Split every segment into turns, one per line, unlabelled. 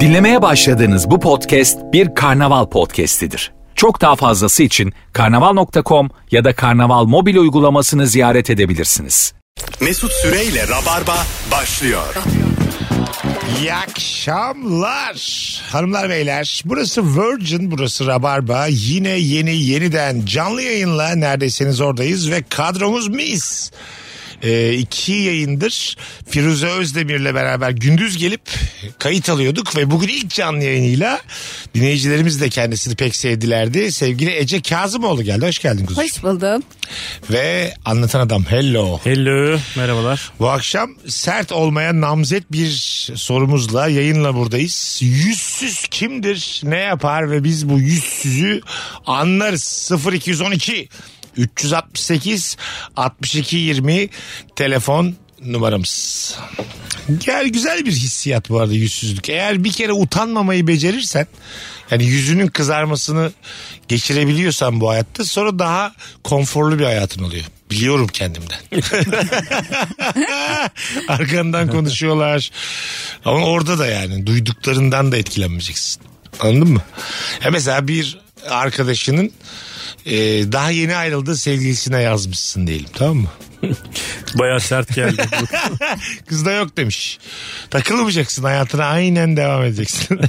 Dinlemeye başladığınız bu podcast bir karnaval podcastidir. Çok daha fazlası için karnaval.com ya da karnaval mobil uygulamasını ziyaret edebilirsiniz.
Mesut Süreyle Rabarba başlıyor.
İyi akşamlar hanımlar beyler. Burası Virgin, burası Rabarba. Yine yeni yeniden canlı yayınla neredeyseniz oradayız ve kadromuz mis. Ee, iki yayındır Firuze Özdemir'le beraber gündüz gelip kayıt alıyorduk ve bugün ilk canlı yayınıyla dinleyicilerimiz de kendisini pek sevdilerdi. Sevgili Ece Kazımoğlu geldi. Hoş geldin kuzum.
Hoş buldum.
Ve anlatan adam hello.
Hello, merhabalar.
Bu akşam sert olmaya namzet bir sorumuzla yayınla buradayız. Yüzsüz kimdir, ne yapar ve biz bu yüzsüzü anlarız. 0212 368 62 20 telefon numaramız. Gel güzel bir hissiyat bu arada yüzsüzlük. Eğer bir kere utanmamayı becerirsen yani yüzünün kızarmasını geçirebiliyorsan bu hayatta sonra daha konforlu bir hayatın oluyor. Biliyorum kendimden. Arkandan konuşuyorlar. Ama orada da yani duyduklarından da etkilenmeyeceksin. Anladın mı? Ya mesela bir arkadaşının e, daha yeni ayrıldığı sevgilisine yazmışsın diyelim tamam mı?
Baya sert geldi.
Kız da yok demiş. Takılmayacaksın hayatına aynen devam edeceksin.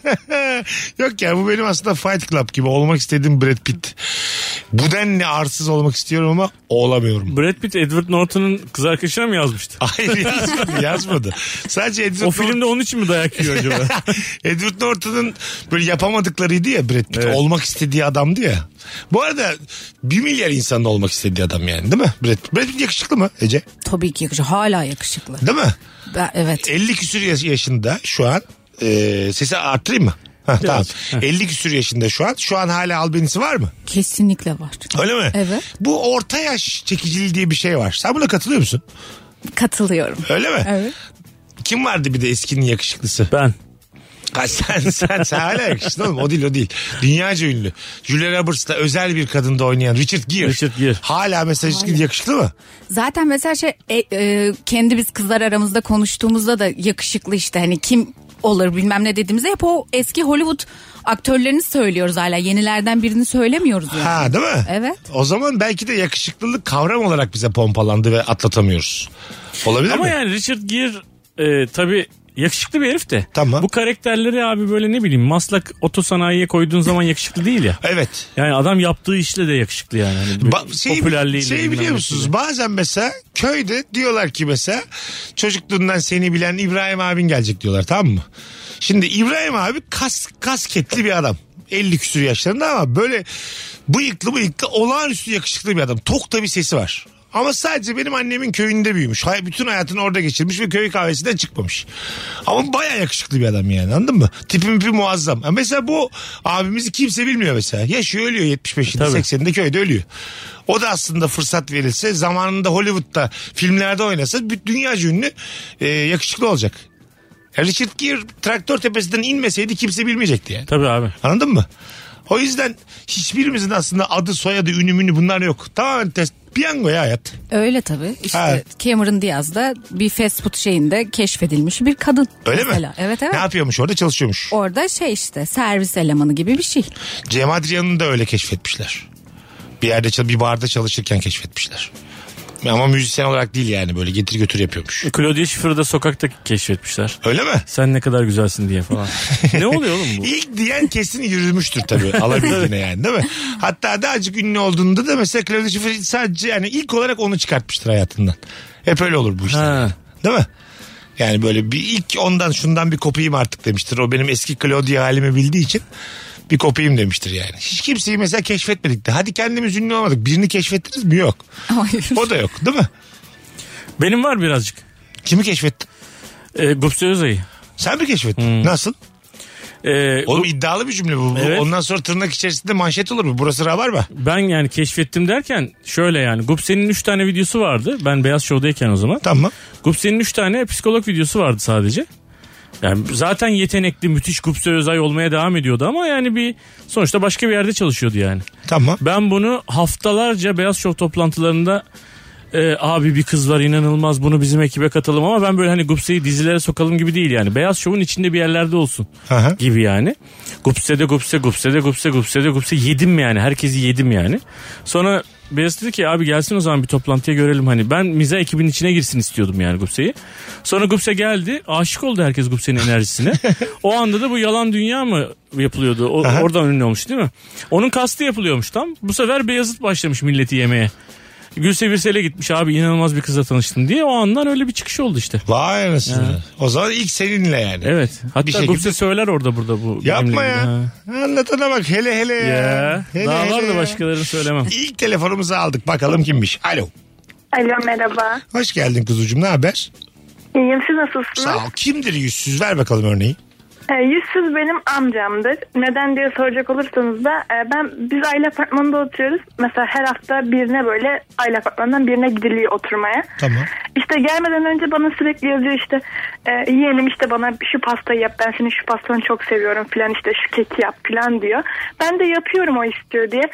yok ya bu benim aslında Fight Club gibi olmak istediğim Brad Pitt. Bu denli arsız olmak istiyorum ama olamıyorum.
Brad Pitt Edward Norton'un kız arkadaşına mı yazmıştı?
Hayır yazmadı. yazmadı. Sadece Edward,
O
Norton-
filmde onun için mi dayak yiyor acaba?
Edward Norton'un böyle yapamadıklarıydı ya Brad Pitt.
Evet.
Olmak istediği adamdı ya. Bu arada bir milyar insanın olmak istediği adam yani değil mi? Brad Pitt, Brad Pitt yakışıklı mı Ece?
Tabii ki yakışıklı. Hala yakışıklı.
Değil mi?
Ben, evet.
50 küsür yaş- yaşında şu an. Ee, sesi arttırayım mı? Ha, tamam. 50 küsür yaşında şu an. Şu an hala albenisi var mı?
Kesinlikle var.
Öyle mi?
Evet.
Bu orta yaş çekiciliği diye bir şey var. Sen buna katılıyor musun?
Katılıyorum.
Öyle mi?
Evet.
Kim vardı bir de eskinin yakışıklısı?
ben.
Ha, sen, sen, sen hala yakışıklı oğlum. O değil o değil. Dünyaca ünlü. Julia Roberts'la özel bir kadında oynayan Richard Gere.
Richard Gere.
Hala mesaj yakışıklı mı?
Zaten mesela şey e, e, kendi biz kızlar aramızda konuştuğumuzda da yakışıklı işte hani kim olur bilmem ne dediğimizde hep o eski Hollywood aktörlerini söylüyoruz hala. Yenilerden birini söylemiyoruz yani.
Ha değil mi?
Evet.
O zaman belki de yakışıklılık kavram olarak bize pompalandı ve atlatamıyoruz. Olabilir
Ama
mi?
yani Richard Gere e, tabii yakışıklı bir herif de.
Tamam.
Bu karakterleri abi böyle ne bileyim maslak otosanayiye koyduğun zaman yakışıklı değil ya.
Evet.
Yani adam yaptığı işle de yakışıklı yani. Hani
Ba- şey,
popülerliğiyle
şey
bilmem
biliyor
nesiyle.
musunuz? Bazen mesela köyde diyorlar ki mesela çocukluğundan seni bilen İbrahim abin gelecek diyorlar tamam mı? Şimdi İbrahim abi kas, kasketli bir adam. 50 küsur yaşlarında ama böyle bıyıklı bıyıklı olağanüstü yakışıklı bir adam. Tok da bir sesi var. Ama sadece benim annemin köyünde büyümüş. Hay- Bütün hayatını orada geçirmiş ve köy kahvesinden çıkmamış. Ama baya yakışıklı bir adam yani anladın mı? Tipi mipi muazzam. Ha mesela bu abimizi kimse bilmiyor mesela. Yaşıyor ölüyor 75'inde
E Tabii.
80'inde köyde ölüyor. O da aslında fırsat verilse zamanında Hollywood'da filmlerde oynasa bütün dünya ünlü e, yakışıklı olacak. Ya Richard Gere traktör tepesinden inmeseydi kimse bilmeyecekti yani.
Tabii abi.
Anladın mı? O yüzden hiçbirimizin aslında adı soyadı ünü münü bunlar yok. Tamamen test, piyango ya hayat.
Öyle tabii. İşte
Ha.
Cameron Diaz da bir fast food şeyinde keşfedilmiş bir kadın.
Öyle
mesela.
mi?
Evet evet.
Ne yapıyormuş orada çalışıyormuş.
Orada şey işte servis elemanı gibi bir şey.
Cem Adrian'ı da öyle keşfetmişler. Bir yerde çal- bir barda çalışırken keşfetmişler. Ama müzisyen olarak değil yani böyle getir götür yapıyormuş.
Claudia Schiffer'ı da sokakta keşfetmişler.
Öyle mi?
Sen ne kadar güzelsin diye falan. ne oluyor oğlum bu?
İlk diyen kesin yürümüştür tabii alabildiğine yani değil mi? Hatta daha azıcık ünlü olduğunda da mesela Claudia Schiffer sadece yani ilk olarak onu çıkartmıştır hayatından. Hep öyle olur bu işler.
Ha.
yani. Değil mi? Yani böyle bir ilk ondan şundan bir kopayım artık demiştir. O benim eski Claudia halimi bildiği için bir kopayım demiştir yani. Hiç kimseyi mesela keşfetmedik de. Hadi kendimiz ünlü olmadık. Birini keşfettiniz mi? Yok.
Hayır.
O da yok değil mi?
Benim var birazcık.
Kimi keşfettin?
E, Gupse Özay'ı.
Sen mi keşfettin? Nasıl?
E,
Oğlum iddialı bir cümle bu. Bu-
Hmm. Evet.
Ondan sonra tırnak içerisinde manşet olur mu? Burası var mı?
Ben yani keşfettim derken şöyle yani Gupse'nin 3 tane videosu vardı. Ben Beyaz Show'dayken o zaman.
Tamam.
Gupse'nin 3 tane psikolog videosu vardı sadece. Yani zaten yetenekli müthiş Gupse Özay olmaya devam ediyordu ama yani bir sonuçta başka bir yerde çalışıyordu yani.
Tamam.
Ben bunu haftalarca Beyaz Show toplantılarında e, abi bir kız var inanılmaz bunu bizim ekibe katalım ama ben böyle hani Gupse'yi dizilere sokalım gibi değil yani. Beyaz Şov'un içinde bir yerlerde olsun
Aha.
gibi yani. Gupse'de Gupse Gupse'de Gupse Gupse'de Gupse yedim yani herkesi yedim yani. Sonra Beyaz dedi ki abi gelsin o zaman bir toplantıya görelim hani ben miza ekibin içine girsin istiyordum yani Gupse'yi. Sonra Gupse geldi aşık oldu herkes Gupse'nin enerjisine. o anda da bu yalan dünya mı yapılıyordu o, oradan ünlü olmuş değil mi? Onun kastı yapılıyormuş tam bu sefer Beyazıt başlamış milleti yemeye. Gülse Birsel'e gitmiş abi inanılmaz bir kızla tanıştın diye o andan öyle bir çıkış oldu işte.
Vay anasını. O zaman ilk seninle yani.
Evet. Hatta
şekilde-
Gupse söyler orada burada bu.
Yapma
benimle
ya.
ilgili. Ha.
Anlatana bak hele hele ya.
Ya.
Hele
Daha
hele
var da
ya.
başkalarını söylemem.
İlk telefonumuzu aldık. Bakalım kimmiş. Alo.
Alo merhaba.
Hoş geldin kuzucuğum. Ne haber?
İyiyim siz nasılsınız?
Sağ ol. Kimdir yüzsüz? Ver bakalım örneği.
Ee, yüzsüz benim amcamdır. Neden diye soracak olursanız da e, ben biz aile apartmanında oturuyoruz. Mesela her hafta birine böyle aile apartmanından birine gidiliyor oturmaya.
Tamam.
İşte gelmeden önce bana sürekli yazıyor işte e, yeğenim işte bana şu pastayı yap ben senin şu pastanı çok seviyorum filan işte şu keki yap filan diyor. Ben de yapıyorum o istiyor diye.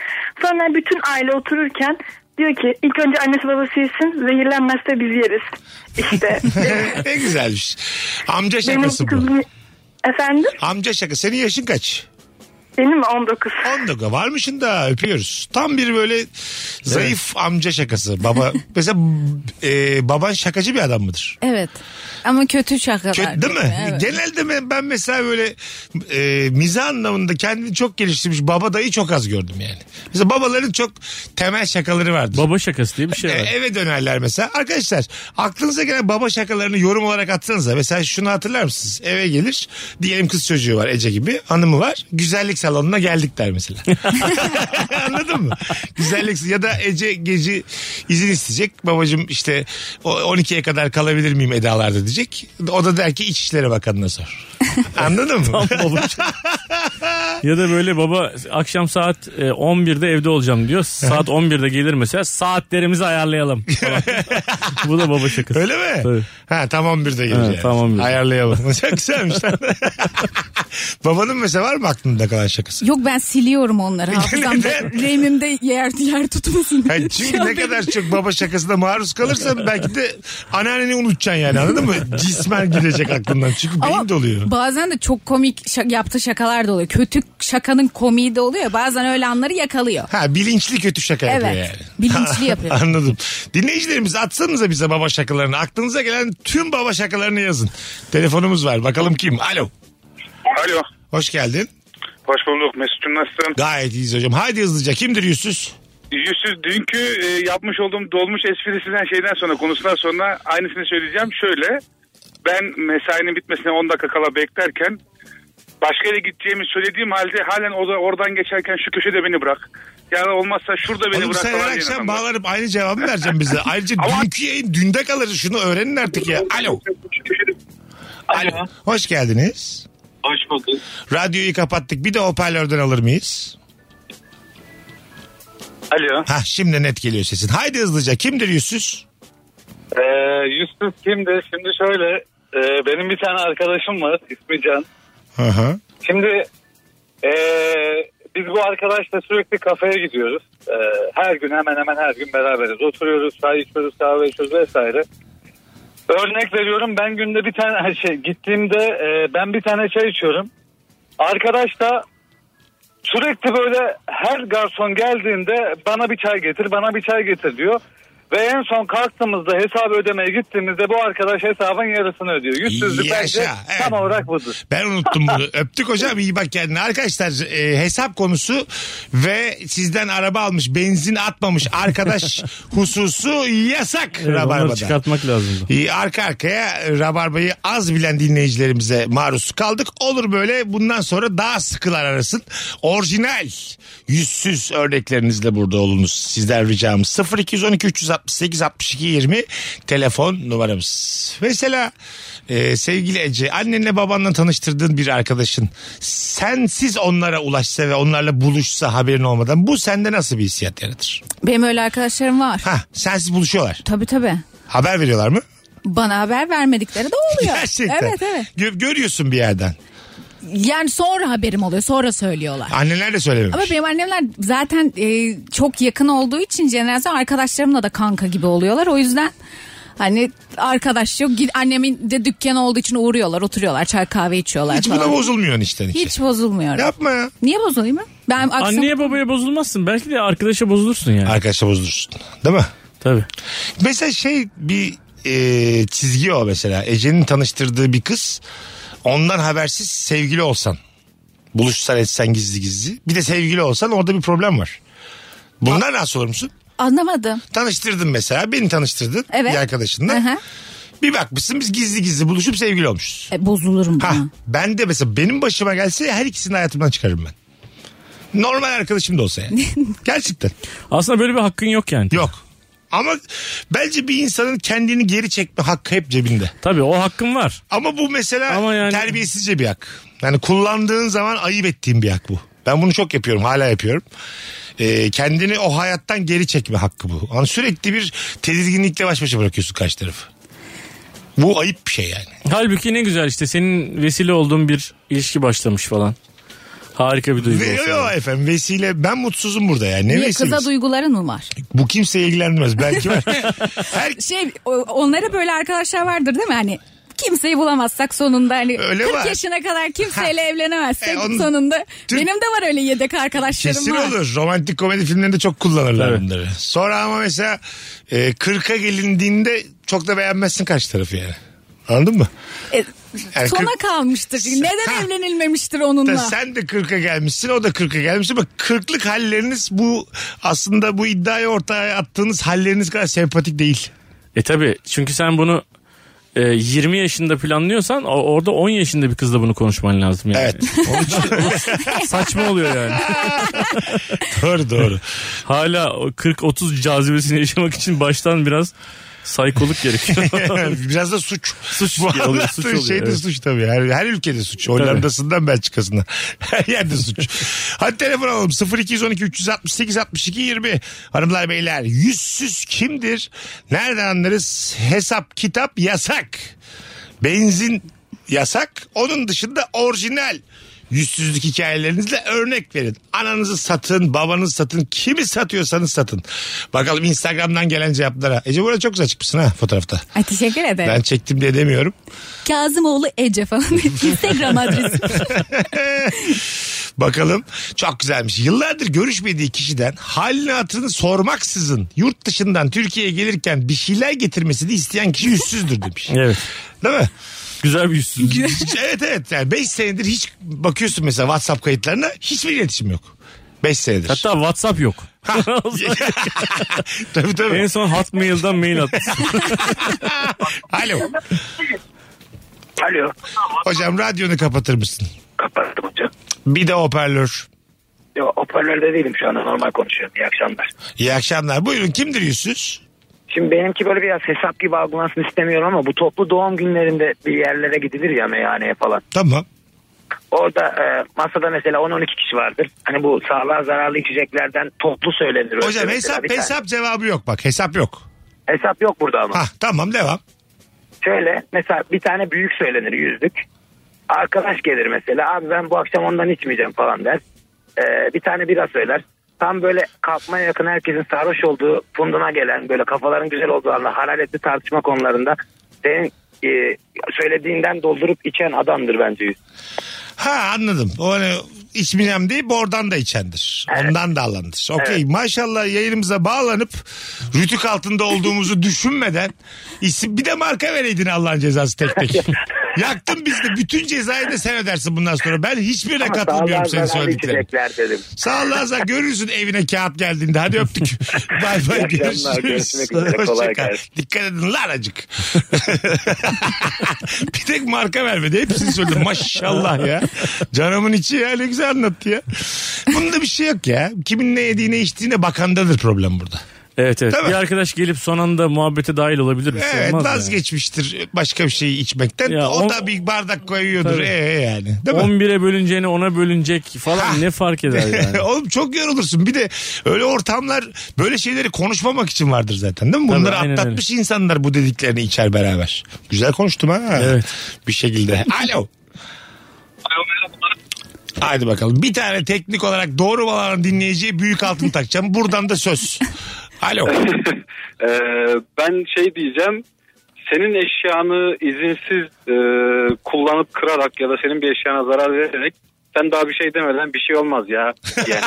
Sonra bütün aile otururken diyor ki ilk önce annesi babası yesin zehirlenmezse biz yeriz. İşte
ne güzelmiş. Amca
benim
şakası Şey, bu.
kızım efendim
Amca şaka. Senin yaşın kaç?
benim 19.
19. Varmışın da öpüyoruz. Tam bir böyle zayıf amca şakası. Baba mesela e, baban şakacı bir adam mıdır?
Evet. Ama kötü şakalar.
Kötü değil mi?
Evet.
Genelde ben, ben mesela böyle e, miza anlamında kendini çok geliştirmiş baba dayı çok az gördüm yani. Mesela babaların çok temel şakaları vardır.
Baba şakası diye bir şey
E,
var.
eve dönerler mesela. Arkadaşlar aklınıza gelen baba şakalarını yorum olarak atsanıza. Mesela şunu hatırlar mısınız? Eve gelir diyelim kız çocuğu var Ece gibi hanımı var. Güzellik salonuna geldik der mesela. Anladın mı? Güzellik ya da Ece gece izin isteyecek. Babacım işte o- 12'ye kadar kalabilir miyim edalarda diyecek. O da der ki İçişleri Bakanı'na sor. Anladın mı?
ya da böyle baba akşam saat e, 11'de evde olacağım diyor. Saat 11'de gelir mesela saatlerimizi ayarlayalım falan. bu da baba şakası.
Öyle mi?
Tabii.
Ha tamam bir de gelir
Ha,
yani.
tam 11'de.
Ayarlayalım. Çok güzelmiş lan. Babanın mesela var mı aklında kalan şakası?
Yok ben siliyorum onları hafızamda.
Neden?
Remimde yer, yer tutmasın.
Yani çünkü ne kadar çok baba şakasına maruz kalırsan belki de anneanneni unutacaksın yani anladın mı? Cismen gidecek aklından çünkü beyin
Ama
doluyor.
bazen de çok komik şa- yaptığı şakalar da oluyor. Kötü şakanın komiği de oluyor. Bazen öyle anları yakalıyor.
Ha bilinçli kötü şaka yapıyor
Evet.
yani.
Bilinçli yapıyor.
Anladım. Dinleyicilerimiz atsanıza bize baba şakalarını. Aklınıza gelen tüm baba şakalarını yazın. Telefonumuz var. Bakalım kim? Alo.
Alo.
Hoş geldin.
Hoş bulduk Mesut'um nasılsın?
Gayet iyiyiz hocam. Haydi hızlıca. Kimdir yüzsüz?
Yüzsüz dünkü e, yapmış olduğum dolmuş esprisinden şeyden sonra konusundan sonra aynısını söyleyeceğim. Şöyle ben mesainin bitmesine 10 dakika kala beklerken başka yere gideceğimi söylediğim halde halen o da oradan geçerken şu köşede beni bırak. Yani olmazsa şurada beni
Oğlum
bırak
sen
falan
her
diyen
akşam
adamlar.
bağlanıp aynı cevabı vereceksin bize. Ayrıca
Ama-
dünkü yayın dünde kalır. Şunu öğrenin artık ya. Alo. Alo. Hoş geldiniz.
Hoş bulduk.
Radyoyu kapattık. Bir de hoparlörden alır mıyız?
Alo.
Ha şimdi net geliyor sesin. Haydi hızlıca. Kimdir yüzsüz?
Ee, Yusuf kimdi? Şimdi şöyle e, benim bir tane arkadaşım var ismi Can.
Hı hı.
Şimdi e, biz bu arkadaşla sürekli kafeye gidiyoruz. E, her gün hemen hemen her gün beraberiz. Oturuyoruz, çay içiyoruz, kahve içiyoruz vesaire. Örnek veriyorum ben günde bir tane şey gittiğimde e, ben bir tane çay içiyorum. Arkadaş da sürekli böyle her garson geldiğinde bana bir çay getir, bana bir çay getir diyor. Ve en son kalktığımızda hesabı ödemeye gittiğimizde bu arkadaş hesabın yarısını ödüyor. Yüzsüzlük bence
Yaşa, evet.
tam olarak budur.
Ben unuttum bunu. Öptük hocam iyi bak kendine. Arkadaşlar e, hesap konusu ve sizden araba almış benzin atmamış arkadaş hususu yasak
Evet, onları
Rabarba'da.
çıkartmak lazımdı.
İyi, Arka arkaya e, Rabarba'yı az bilen dinleyicilerimize maruz kaldık. Olur böyle bundan sonra daha sıkılar arasın. Orijinal yüzsüz örneklerinizle burada olunuz. Sizden ricamız 0212 368 62 20 telefon numaramız. Mesela e, sevgili Ece annenle babanla tanıştırdığın bir arkadaşın sensiz onlara ulaşsa ve onlarla buluşsa haberin olmadan bu sende nasıl bir hissiyat yaratır?
Benim öyle arkadaşlarım var.
Ha sensiz buluşuyorlar.
Tabii tabii.
Haber veriyorlar mı?
Bana haber vermedikleri de oluyor.
Gerçekten.
Evet evet.
Gö- görüyorsun bir yerden.
Yani sonra haberim oluyor. Sonra söylüyorlar.
Anneler de söylememiş.
Ama benim annemler zaten e, çok yakın olduğu için jenerasyon arkadaşlarımla da kanka gibi oluyorlar. O yüzden hani arkadaş yok. Gid- Annemin de dükkanı olduğu için uğruyorlar, oturuyorlar, çay kahve içiyorlar
Hiç
falan.
buna bozulmuyorsun içten içe.
Hiç bozulmuyorum.
Yapma ya.
Niye bozulayım mı? Ben aksine
Anneye babaya bozulmazsın. Belki de arkadaşa bozulursun yani.
Arkadaşla bozulursun. Değil mi?
Tabii.
Mesela şey bir e, çizgi o mesela. Ece'nin tanıştırdığı bir kız. Ondan habersiz sevgili olsan. Buluşsan etsen gizli gizli. Bir de sevgili olsan orada bir problem var. Bundan nasıl olur musun?
anlamadım.
Tanıştırdın mesela. Beni tanıştırdın
Evet.
bir arkadaşınla.
Hı hı.
Bir bakmışsın biz gizli gizli buluşup sevgili olmuşuz.
E, bozulurum
Ha,
buna.
ben de mesela benim başıma gelse her ikisini hayatımdan çıkarım ben. Normal arkadaşım da olsa yani. Gerçekten.
Aslında böyle bir hakkın yok yani.
Yok. Ama bence bir insanın kendini geri çekme hakkı hep cebinde.
Tabii o hakkın var.
Ama bu mesela
Ama yani-
terbiyesizce bir hak. Yani kullandığın zaman ayıp ettiğin bir hak bu. Ben bunu çok yapıyorum hala yapıyorum. Ee, kendini o hayattan geri çekme hakkı bu. Yani sürekli bir tedirginlikle baş başa bırakıyorsun karşı tarafı. Bu ayıp bir şey yani.
Halbuki ne güzel işte senin vesile olduğun bir ilişki başlamış falan. Harika bir duygu.
Ve
olsa.
yo efendim vesile ben mutsuzum burada yani. Ne
Niye
vesilesi?
kıza duyguların mı var?
Bu kimseye ilgilenmez belki var. Her
Şey o- onlara böyle arkadaşlar vardır değil mi? Hani kimseyi bulamazsak sonunda hani
Öyle
40
var.
yaşına kadar kimseyle evlenemezsek
E, onun-
sonunda
Türk-
benim de var öyle yedek arkadaşlarım
Kesin
var.
olur. Romantik komedi filmlerinde çok kullanırlar
Evet.
bunları. Sonra ama mesela e, 40'a gelindiğinde çok da beğenmezsin karşı tarafı yani. Anladın mı?
E,
Yani
sona
kırk-
kalmıştır. Çünkü
Ha.
Neden evlenilmemiştir
Da
onunla?
sen de 40'a gelmişsin o da 40'a gelmiş ama 40'lık halleriniz bu aslında bu iddiayı ortaya attığınız halleriniz kadar sempatik değil.
E tabii çünkü sen bunu e, 20 yaşında planlıyorsan o- orada 10 yaşında bir kızla bunu konuşman lazım yani.
Evet.
Saçma oluyor yani.
doğru doğru.
Hala 40-30 cazibesini yaşamak için baştan biraz saykoluk gerekiyor.
Biraz da suç.
Suç
Bu
oluyor, suç
anlattığın
oluyor,
şey de
evet.
suç tabii. Her, her ülkede suç. Hollanda'sından Belçika'sından. Her yerde suç. Hadi telefon alalım. 0212 368 62 20. Hanımlar beyler yüzsüz kimdir? Nereden anlarız? Hesap kitap yasak. Benzin yasak. Onun dışında orijinal. Yüzsüzlük hikayelerinizle örnek verin. Ananızı satın, babanızı satın, kimi satıyorsanız satın. Bakalım Instagram'dan gelen cevaplara. Ece burada çok güzel çıkmışsın ha fotoğrafta.
Ay teşekkür ederim.
Ben çektim diye demiyorum.
Kazımoğlu Ece falan. Instagram adresim.
Bakalım çok güzelmiş. Yıllardır görüşmediği kişiden halini hatırını sormaksızın yurt dışından Türkiye'ye gelirken bir şeyler getirmesini isteyen kişi yüzsüzdür demiş.
evet.
Değil mi?
Güzel bir yüzsüzlük.
evet evet yani 5 senedir hiç bakıyorsun mesela WhatsApp kayıtlarına hiçbir iletişim yok. 5 senedir.
Hatta WhatsApp yok.
tabii tabii.
en son Hotmail'dan mail attı.
Alo.
Alo.
Hocam radyonu kapatır mısın?
Kapattım hocam.
Bir de hoparlör.
Ya, hoparlörde değilim şu anda normal konuşuyorum. İyi akşamlar.
İyi akşamlar. Buyurun kimdir yüzsüz?
Şimdi benimki böyle biraz hesap gibi algılansın istemiyorum ama bu toplu doğum günlerinde bir yerlere gidilir ya meyhaneye falan.
Tamam.
Orada e, masada mesela 10-12 kişi vardır. Hani bu sağlığa zararlı içeceklerden toplu söylenir. Önce
Hocam
mesela bir
hesap
tane.
hesap cevabı yok bak hesap yok.
Hesap yok burada ama.
Ha tamam devam.
Şöyle mesela bir tane büyük söylenir yüzlük. Arkadaş gelir mesela abi ben bu akşam ondan içmeyeceğim falan der. Ee, bir tane bira söyler. Tam böyle kalkmaya yakın herkesin sarhoş olduğu funduna gelen böyle kafaların güzel olduğu anda hararetli tartışma konularında senin e, söylediğinden doldurup içen adamdır bence yüz.
Ha anladım. O hani içmeyeceğim deyip oradan da içendir. Ondan da alandır. Okey
Evet.
maşallah yayınımıza bağlanıp rütük altında olduğumuzu düşünmeden isim bir de marka vereydin Allah'ın cezası tek tek. Yaktın biz de bütün cezayı da sen ödersin bundan sonra. Ben hiçbirine
Ama sağlığa
katılmıyorum senin
zararlı
söylediklerine.
içecekler dedim.
Sağ ol Azar. görürsün evine kağıt geldiğinde. Hadi öptük. bay bay
İyi akşamlar,
görüşürüz.
görüşmek üzere, kolay
Hoşça kal.
gelsin.
Dikkat edin lan acık. bir tek marka vermedi. Hepsini söyledim. Maşallah ya. Canımın içi ya. Ne güzel anlattı ya. Bunda bir şey yok ya. Kimin ne yediğine içtiğine bakandadır problem burada.
Evet evet.
Tabii.
Bir arkadaş gelip son anda muhabbete dahil olabilir. Bir şey
Evet
olmaz
vazgeçmiştir başka bir şey içmekten.
Ya
o
on-
da bir bardak koyuyordur.
Tabii.
Ee yani.
yani.
Değil mi?
11'e bölüneceğini 10'a bölünecek
Ha.
falan ne fark eder yani.
Oğlum çok yorulursun. Bir de öyle ortamlar böyle şeyleri konuşmamak için vardır zaten değil mi? Bunları
aynen
atlatmış insanlar bu dediklerini içer beraber. Güzel konuştum ha.
Evet.
Bir şekilde. Alo.
Alo merhaba.
Haydi bakalım. Bir tane teknik olarak doğru bağlanan dinleyiciye büyük altın takacağım. Buradan da söz. Alo.
Ee, ben şey diyeceğim. Senin eşyanı izinsiz e, kullanıp kırarak ya da senin bir eşyana zarar vererek sen daha bir şey demeden bir şey olmaz ya. diye.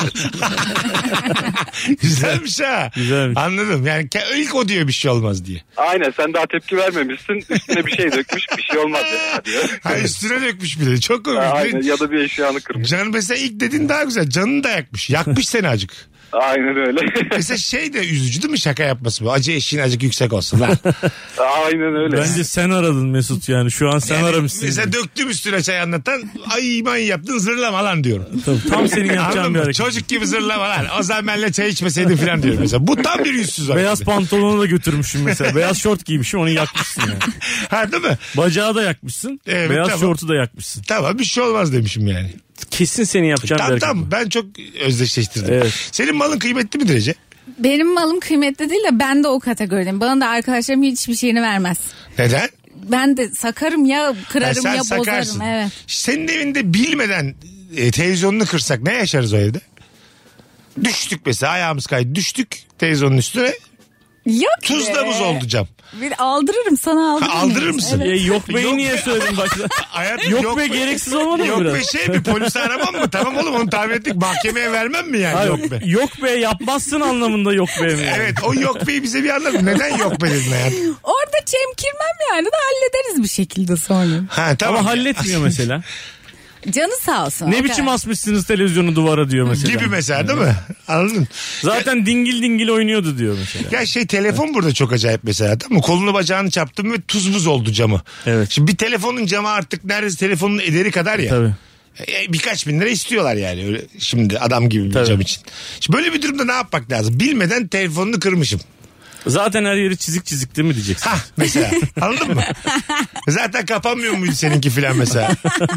Güzelmiş ha.
Güzelmiş.
Anladım. Yani ke- ilk o diyor bir şey olmaz diye.
Aynen sen daha tepki vermemişsin üstüne bir şey dökmüş bir şey olmaz ya diyor.
Ha, üstüne dökmüş bile. Çok komik.
Aynen ya da bir eşyanı kırmış.
Can mesela ilk dedin daha güzel. Canını da yakmış. Yakmış seni acık.
Aynen öyle.
Mesela şey de üzücü değil mi şaka yapması bu? Acı eşiğin acık yüksek olsun lan.
Aynen öyle.
Bence sen aradın Mesut yani. Şu an sen
Yani
aramışsın.
Mesela döktüm üstüne çay anlatan. Ay iman yaptın zırlama lan diyorum.
Tabii, tam senin
Anladın
yapacağın bir
mı?
hareket.
Çocuk gibi zırlama lan. O zaman benimle çay içmeseydin falan diyorum mesela. Bu tam bir yüzsüz hareket.
Beyaz pantolonu da götürmüşsün mesela. Beyaz şort giymişim onu yakmışsın yani.
Ha değil mi?
Bacağı da yakmışsın.
Evet,
beyaz
tamam.
şortu da yakmışsın.
Tamam bir şey olmaz demişim yani.
Kesin seni yapacağım
Tamam tamam ben çok özdeşleştirdim.
Evet.
Senin malın kıymetli midir Ece?
Benim malım kıymetli değil de ben de o kategorideyim. Bana da arkadaşlarım hiçbir şeyini vermez.
Neden?
Ben de sakarım ya
Ha,
kırarım
sen
ya
sakarsın.
bozarım. Evet.
Senin evinde bilmeden e, televizyonunu kırsak ne yaşarız o evde? Düştük mesela ayağımız kaydı düştük televizyonun üstüne
Yok be.
tuzla buz oldu cam.
Bir aldırırım sana aldırırım.
Ha, aldırır mısın?
Ya yok beyi
Yok
niye
be.
söyledin başta?
Hayatım
Yok be, gereksiz olmadı mı
Yok
biraz?
be şey bir polisi aramam mı? Tamam oğlum onu tahmin ettik mahkemeye vermem mi yani
Ha,
yok be?
Yok be yapmazsın anlamında yok be mi? yani?
Evet o yok beyi bize bir anlatın. Neden yok be dedin hayatım?
Orada çemkirmem yani de hallederiz bir şekilde sonra.
Ha, tamam.
Ama halletmiyor mesela.
Canı sağ olsun. o
ne
kadar.
biçim asmışsınız televizyonu duvara diyor mesela.
Gibi mesela değil mi? Anladın?
Zaten dingil dingil oynuyordu diyor mesela.
Ya şey telefon burada çok acayip mesela değil mi? Kolunu bacağını çaptım ve tuz buz oldu camı.
Evet.
Şimdi bir telefonun camı artık neredeyse telefonun ederi kadar ya.
Tabii.
E, birkaç bin lira istiyorlar yani öyle şimdi adam gibi bir cam için. Şimdi böyle bir durumda ne yapmak lazım? Bilmeden telefonunu kırmışım.
Zaten her yeri çizik çizik değil mi diyeceksin?
Hah mesela anladın mı? Zaten kapanmıyor muydu seninki filan mesela?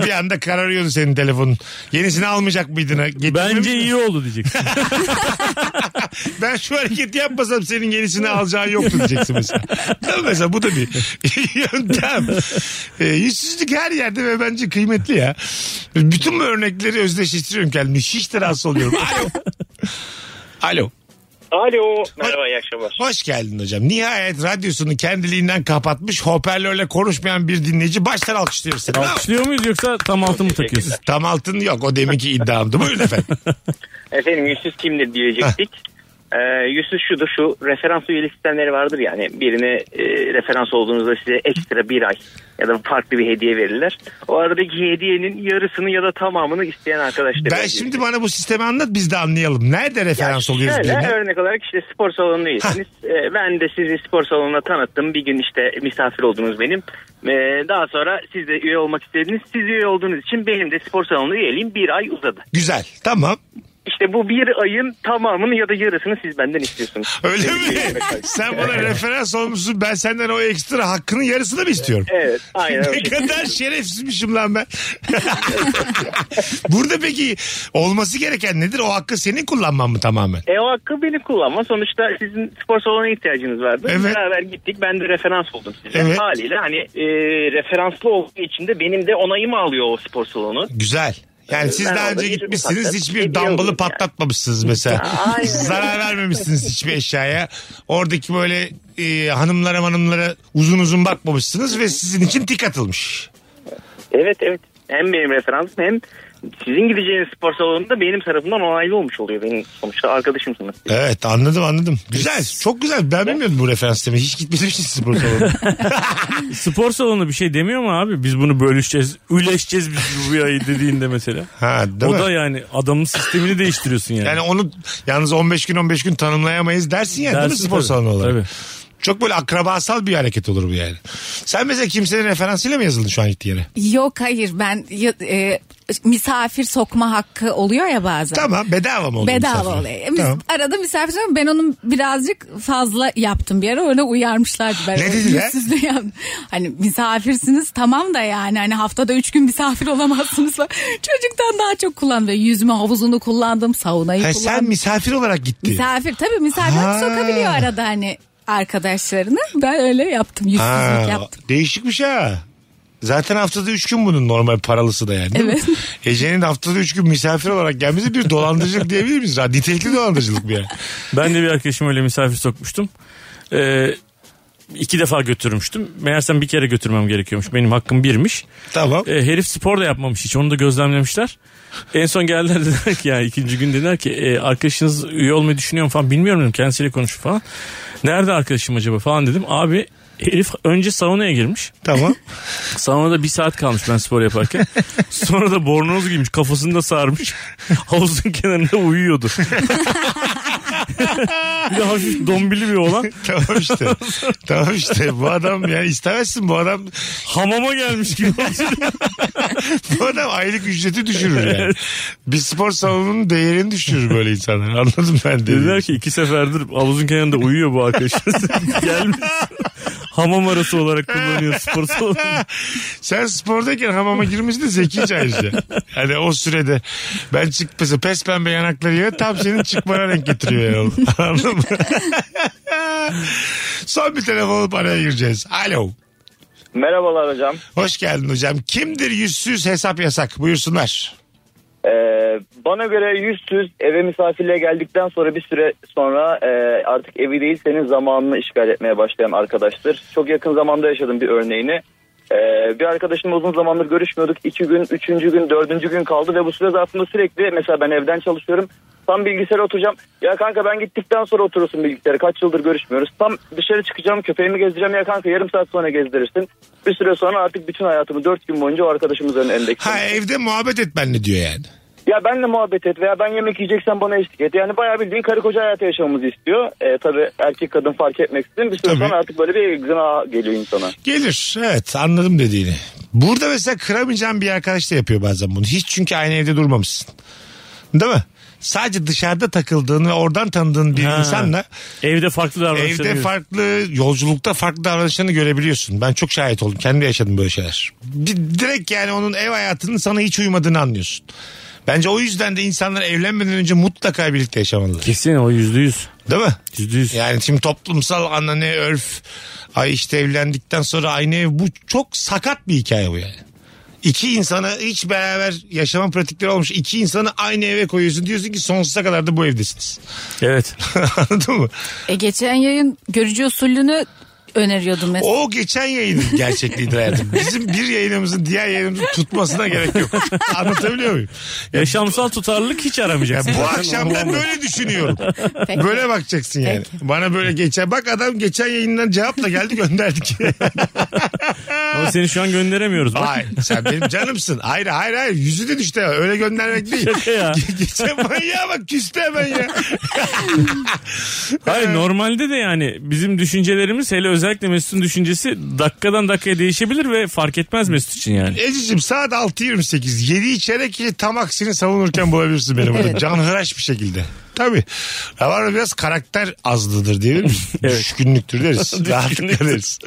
bir anda kararıyordu senin telefonun. Yenisini almayacak mıydın? Getirmemiş
Bence
miydin?
iyi oldu diyeceksin.
Ben şu hareketi yapmasam senin yenisini alacağın yoktu diyeceksin mesela. Değil mi mesela bu da bir yöntem. E, yüzsüzlük her yerde ve bence kıymetli ya. Bütün bu örnekleri özdeşleştiriyorum kendimi. Hiç de rahatsız oluyorum. Alo. Alo.
Şey,
Alo.
Merhaba,
iyi akşamlar.
Hoş geldin hocam. Nihayet radyosunu kendiliğinden kapatmış hoparlörle konuşmayan bir dinleyici baştan alkışlıyoruz seni. Bravo.
Alkışlıyor muyuz yoksa tam altın mı takıyorsun?
Tam altın yok o deminki iddiamdı. Buyurun efendim.
Efendim yüzsüz kimdir diyecektik. Ee, yüzsüz şudur şu referans üyelik sistemleri vardır hani. yani birine e, referans olduğunuzda size ekstra bir ay ya da farklı bir hediye verirler. O aradaki hediyenin yarısını ya da tamamını isteyen arkadaş demek.
ben şimdi bana bu sistemi anlat biz de anlayalım. Nerede referans oluyoruz
Şöyle
birine?
örnek olarak işte spor salonundaysınız. Ee, ben de sizi spor salonuna tanıttım. Bir gün işte misafir oldunuz benim. Ee, daha sonra siz de üye olmak istediniz. Siz üye olduğunuz için benim de spor salonuna üyeliğim bir ay uzadı.
Güzel tamam.
İşte bu bir ayın tamamını ya da yarısını siz benden istiyorsunuz.
Öyle
Tebrik
mi?
ederim.
Sen bana referans olmuşsun. Ben senden o ekstra hakkının yarısını mı istiyorum?
Evet, aynen
ne
öyle.
kadar şerefsizmişim lan ben. Burada peki olması gereken nedir? O hakkı senin kullanman mı tamamen?
E o hakkı beni kullanma. Sonuçta sizin spor salonuna ihtiyacınız vardı.
Evet.
Beraber gittik. Ben de referans oldum size.
Evet.
Haliyle hani e, referanslı olduğu için de benim de onayımı alıyor o spor salonu.
Güzel. Yani siz
Ben
daha
orada
önce
yürüdüm
gitmişsiniz
zaten.
hiçbir
Gidiyordum
dumbbell'ı
yani.
patlatmamışsınız mesela.
Aynen.
Zarar vermemişsiniz hiçbir eşyaya. Oradaki böyle e, hanımlara hanımlara uzun uzun bakmamışsınız ve sizin için tik atılmış.
Evet evet. Hem benim referansım hem sizin gideceğiniz spor salonunda benim tarafından onaylı olmuş oluyor. Benim sonuçta arkadaşımsınız.
Evet anladım anladım. Güzel çok güzel ben bilmiyordum bu referans demeyi. Hiç gitmedim hiç spor salonuna.
Spor salonu bir şey demiyor mu abi? Biz bunu bölüşeceğiz, üleşeceğiz biz bu yayı dediğinde mesela.
Ha, değil
o
mi?
da yani adamın sistemini değiştiriyorsun yani.
Yani onu yalnız 15 gün 15 gün tanımlayamayız dersin yani değil mi
Dersin
spor
tabii,
salonu olarak?
tabii.
Çok böyle akrabasal bir hareket olur bu yani. Sen mesela kimsenin referansıyla mı yazıldın şu an gittiğin yere?
Yok hayır ben ya- e, misafir sokma hakkı oluyor ya bazen.
Tamam bedava mı oldu? misafir?
Bedava oluyor. E, mis-
Tamam.
Arada misafir sokma ben onun birazcık fazla yaptım bir ara öyle uyarmışlardı. Ben
Ne
o
dediler?
yüzsüzlüğü yaptım. Hani misafirsiniz tamam da yani hani haftada üç gün misafir olamazsınız falan. Çocuktan daha çok kullandım. Yüzme havuzunu kullandım saunayı
Ha,
kullandım.
sen misafir olarak gittin.
Misafir tabii misafir
Ha.
sokabiliyor arada hani arkadaşlarını. Ben öyle yaptım yüzsüzlük
Ha,
yaptım.
değişikmiş ha. Zaten haftada 3 gün bunun normal paralısı da yani. değil mi?
Evet.
Ece'nin haftada 3 gün misafir olarak gelmesi bir dolandırıcılık diyebilir miyiz? Ha, Nitelikli dolandırıcılık bir yani.
Ben de bir arkadaşım öyle misafir sokmuştum. Ee, iki defa götürmüştüm. Meğersem bir kere götürmem gerekiyormuş. Benim hakkım birmiş.
Tamam.
E, herif spor da yapmamış hiç. Onu da gözlemlemişler. En son geldiler dediler ki yani ikinci gün dediler ki e, arkadaşınız üye olmayı düşünüyor mu falan. Bilmiyorum dedim kendisiyle konuşup falan. Nerede arkadaşım acaba falan dedim. Abi herif önce saunaya girmiş.
Tamam.
Saunada bir saat kalmış ben spor yaparken. Sonra da bornoz giymiş kafasını da sarmış. Havuzun kenarında uyuyordu. bir de hafif dombili bir olan
tamam işte. Tamam işte. Bu adam yani istemezsin bu adam
hamama gelmiş gibi.
bu adam aylık ücreti düşürür yani. Bir spor salonunun değerini düşürür böyle insanlar. Anladım ben de.
Dediler ki iki seferdir havuzun kenarında uyuyor bu arkadaşlar. Gelmiş. Hamam arası olarak kullanıyor spor salonu.
Sen spordayken hamama girmesi de zekice ayrıca. Hani o sürede ben çık mesela pes pembe yanakları ya tam senin çıkmana renk getiriyor yani. oğlum. Anladın mı? Son bir telefon alıp araya gireceğiz. Alo.
Merhabalar hocam.
Hoş geldin hocam. Kimdir yüzsüz hesap yasak? Buyursunlar.
Ee, bana göre yüzsüz eve misafirliğe geldikten sonra bir süre sonra e, artık evi değil senin zamanını işgal etmeye başlayan arkadaştır. Çok yakın zamanda yaşadım bir örneğini. Ee, bir arkadaşımla uzun zamandır görüşmüyorduk. İki gün, üçüncü gün, dördüncü gün kaldı ve bu süre zarfında sürekli mesela ben evden çalışıyorum. Tam bilgisayara oturacağım. Ya kanka ben gittikten sonra oturursun bilgisayara. Kaç yıldır görüşmüyoruz. Tam dışarı çıkacağım köpeğimi gezdireceğim. Ya kanka yarım saat sonra gezdirirsin. Bir süre sonra artık bütün hayatımı dört gün boyunca o arkadaşımızın endeksledim.
Ha evde muhabbet et benimle diyor yani.
Ya benle muhabbet et veya ben yemek yiyeceksen bana eşlik et. Yani bayağı bildiğin karı koca hayatı yaşamamızı istiyor. E, tabii erkek kadın fark etmeksizin bir süre
Tabii.
sonra artık böyle bir gına geliyor insana.
Gelir evet anladım dediğini. Burada mesela kıramayacağım bir arkadaş da yapıyor bazen bunu. Hiç çünkü aynı evde durmamışsın. Değil mi? Sadece dışarıda takıldığın ve oradan tanıdığın bir
Ha.
insanla
Evde farklı davranışlar.
evde
görüyorsun.
farklı yolculukta farklı davranışlarını görebiliyorsun. Ben çok şahit oldum. Kendi yaşadım böyle şeyler. Bir, direkt yani onun ev hayatının sana hiç uymadığını anlıyorsun. Bence o yüzden de insanlar evlenmeden önce mutlaka birlikte yaşamalılar.
Kesin o yüzde yüz.
Değil mi?
Yüzde yüz.
Yani şimdi toplumsal anane örf ay işte evlendikten sonra aynı ev bu çok sakat bir hikaye bu yani. İki insanı hiç beraber yaşama pratikleri olmuş. iki insanı aynı eve koyuyorsun. Diyorsun ki sonsuza kadar da bu evdesiniz.
Evet.
Anladın mı?
E, geçen yayın görücü usulünü öneriyordum mesela.
O geçen yayının gerçekliğidir hayatım. Bizim bir yayınımızın diğer yayınımızın tutmasına gerek yok. Anlatabiliyor muyum?
Yaşamsal tutarlılık hiç
Ya
aramayacaksın.
bu akşam ben böyle düşünüyorum.
Peki.
Böyle bakacaksın yani. Bana böyle geçen. Bak adam geçen yayından cevapla geldi gönderdik.
Ama seni şu an gönderemiyoruz. Bak.
Hayır sen benim canımsın. Hayır hayır hayır yüzünü düştü öyle göndermek değil.
Şaka ya.
Geçen manyağa bak küstü hemen ya.
Hayır normalde de yani bizim düşüncelerimiz hele özellikle Mesut'un düşüncesi dakikadan dakikaya değişebilir ve fark etmez Mesut için yani.
Ececiğim saat 6.28 7 içerek ki tam aksini savunurken bulabilirsin beni burada.
Evet.
Canhıraş bir şekilde. Tabii. Rabarba biraz karakter azlıdır diyebilir miyiz? Düşkünlüktür deriz. Rahatlıkla deriz.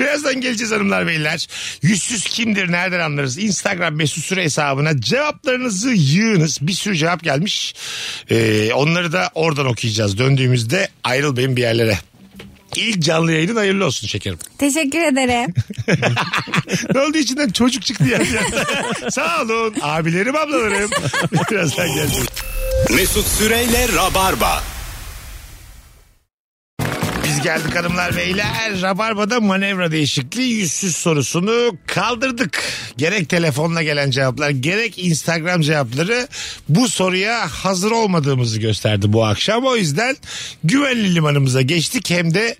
Birazdan geleceğiz hanımlar beyler. Yüzsüz kimdir nereden anlarız? Instagram mesut süre hesabına cevaplarınızı yığınız. Bir sürü cevap gelmiş. Ee, onları da oradan okuyacağız. Döndüğümüzde ayrılmayın bir yerlere. İlk canlı yayının hayırlı olsun şekerim.
Teşekkür ederim.
Ne oldu içinden çocuk çıktı ya. Sağ olun abilerim ablalarım. Birazdan geleceğiz.
Mesut Süreyle Rabarba.
Biz geldik hanımlar beyler. Rabarba'da manevra değişikliği yüzsüz sorusunu kaldırdık. Gerek telefonla gelen cevaplar gerek Instagram cevapları bu soruya hazır olmadığımızı gösterdi bu akşam. O yüzden güvenli limanımıza geçtik hem de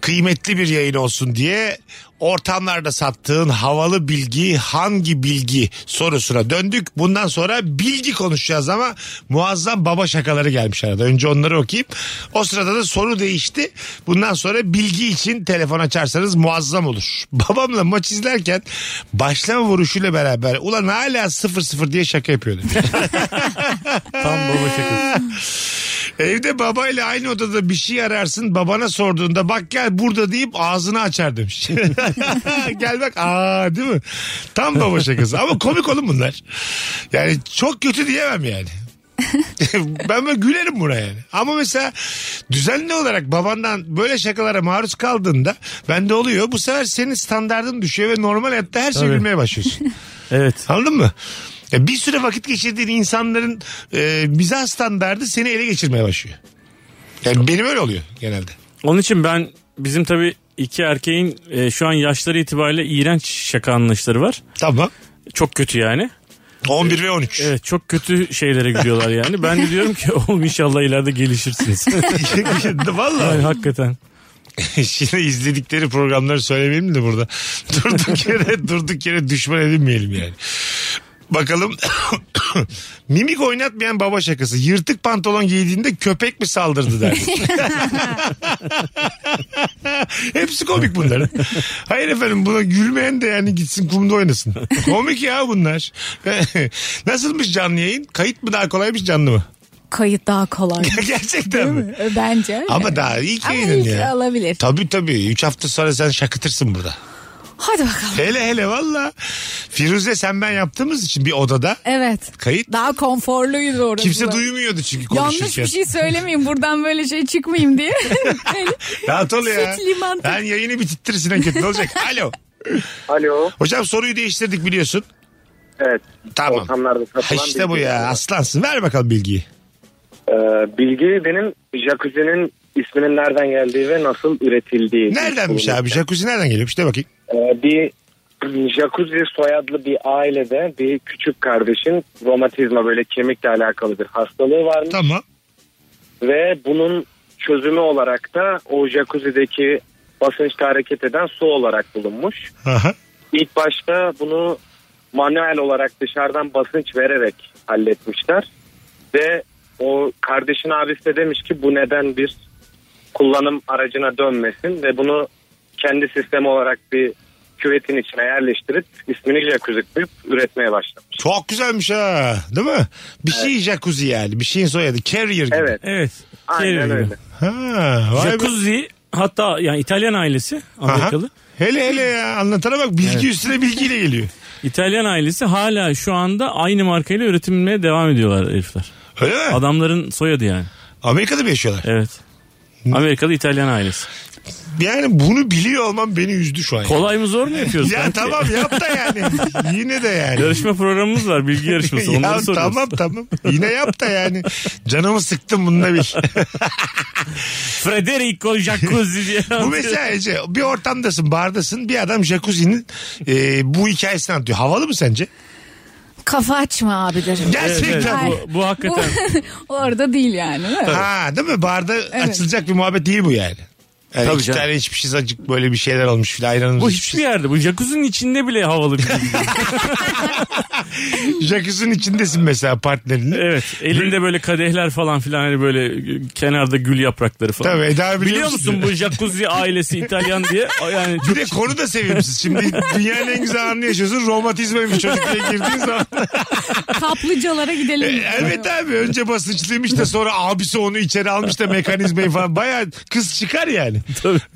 kıymetli bir yayın olsun diye ortamlarda sattığın havalı bilgi hangi bilgi sorusuna döndük. Bundan sonra bilgi konuşacağız ama muazzam baba şakaları gelmiş arada. Önce onları okuyayım. O sırada da soru değişti. Bundan sonra bilgi için telefon açarsanız muazzam olur. Babamla maç izlerken başlama vuruşuyla beraber ulan hala 0-0 diye şaka yapıyordu.
Tam baba şakası.
Evde babayla aynı odada bir şey ararsın babana sorduğunda bak gel burada deyip ağzını açar demiş. gel bak aa değil mi? Tam baba şakası ama komik oğlum bunlar. Yani çok kötü diyemem yani. ben böyle gülerim buraya yani. Ama mesela düzenli olarak babandan böyle şakalara maruz kaldığında bende oluyor. Bu sefer senin standardın düşüyor ve normal hayatta her şey
Tabii.
gülmeye başlıyorsun.
Evet.
Anladın mı? Ya bir süre vakit geçirdiğin insanların e, mizah standardı seni ele geçirmeye başlıyor. Yani benim öyle oluyor genelde.
Onun için ben bizim tabii iki erkeğin e, şu an yaşları itibariyle iğrenç şaka anlayışları var.
Tamam.
Çok kötü yani.
11 ve 13.
Evet çok kötü şeylere gidiyorlar yani. Ben de diyorum ki oğlum inşallah ileride gelişirsiniz. yani
Vallahi
hakikaten.
şimdi izledikleri programları söylemeyeyim de burada. Durduk yere durduk yere düşman edinmeyelim yani. Bakalım mimik oynatmayan baba şakası. Yırtık pantolon giydiğinde köpek mi saldırdı der. Hepsi komik bunların. Hayır efendim buna gülmeyen de yani gitsin kumda oynasın. Komik ya bunlar. Nasılmış canlı yayın? Kayıt mı daha kolaymış canlı mı?
Kayıt daha kolay.
Gerçekten mi?
Ö, Bence öyle.
Ama daha ilk
Ama
yayının
ilk
ya.
alabilir.
Tabii tabii. 3 hafta sonra sen şakıtırsın burada.
Hadi bakalım.
Hele hele valla. Firuze sen ben yaptığımız için bir odada
Evet.
kayıt.
Daha konforluydu orası.
Kimse
da.
duymuyordu çünkü konuşurken.
Yanlış bir şey söylemeyeyim buradan böyle şey çıkmayayım diye. Hani
Rahat ol ya.
Süt, liman.
Ben yayını bitirtirsin en kötü. Ne olacak? Alo.
Alo.
Hocam soruyu değiştirdik biliyorsun.
Evet.
Tamam.
Ortamlarda
Ha
satılan
işte bu
bilgi-
ya. Aslansın. Ver bakalım bilgiyi.
Ee, bilgi benim jacuzzi'nin isminin nereden geldiği ve nasıl üretildiği.
Neredenmiş abi? Jacuzzi nereden geliyor? İşte bakayım.
Ee, bir jacuzzi soyadlı bir ailede bir küçük kardeşin romatizma böyle kemikle alakalı bir hastalığı varmış.
Tamam.
Ve bunun çözümü olarak da o jacuzzi'deki basınçla hareket eden su olarak bulunmuş.
Aha.
İlk başta bunu manuel olarak dışarıdan basınç vererek halletmişler. Ve o kardeşin abisi de demiş ki bu neden bir kullanım aracına dönmesin ve bunu kendi sistemi olarak bir küvetin içine yerleştirip ismini jacuzzi koyup üretmeye başlamış.
Çok güzelmiş ha. Değil mi? Bir şey jacuzzi yani. Bir şeyin soyadı. Carrier gibi.
Evet
Evet. Şey
aynen
gibi.
öyle.
Ha, vay be.
Jacuzzi hatta yani İtalyan ailesi Amerikalı.
Aha. Hele hele ya anlatana bak bilgi üstüne bilgiyle geliyor.
İtalyan ailesi hala şu anda aynı markayla üretimine devam ediyorlar herifler.
Öyle mi?
Adamların soyadı yani.
Amerika'da mı yaşıyorlar?
Evet. Amerikalı İtalyan ailesi.
Yani bunu biliyor olmam beni üzdü şu an.
Kolay mı zor mu yapıyoruz?
ya
kanki?
tamam yap da yani. Yine de yani.
Yarışma programımız var bilgi yarışması.
ya
Onları soruyoruz.
tamam tamam. Yine yap da yani. Canımı sıktım bununla bir.
Federico Jacuzzi diye.
bu mesela Ece bir ortamdasın bardasın bir adam jacuzzi'nin e, bu hikayesini anlatıyor. Havalı mı sence?
Kafa açma abi derim.
Evet, evet,
Gerçekten.
bu, bu hakikaten.
Bu- Orada değil yani. değil mi?
Ha değil mi? Barda açılacak bir muhabbet değil bu yani. Yani
Tabii
iki
canım.
tane içmişiz acık böyle bir şeyler olmuş filan ayranımız.
bu
içmişiz.
hiçbir yerde. Bu jacuzzi'nin içinde bile havalı bir bilgi.
şey- Jacuzzi'nin içindesin mesela partnerini.
Evet. Elinde böyle kadehler falan filan hani böyle kenarda gül yaprakları falan.
Tabii, Eda biliyor
Biliyor
musun
musun bu jacuzzi ailesi İtalyan diye? Yani
Bir de konu da sevimsiz. Şimdi dünyanın en güzel anını yaşıyorsun. Romatizmaymış çocuk diye girdiğin zaman.
Kaplıcalara
E,
gidelim.
Elbette abi. Önce basınçlıymış da sonra abisi onu içeri almış da mekanizmayı falan. Baya kız çıkar yani.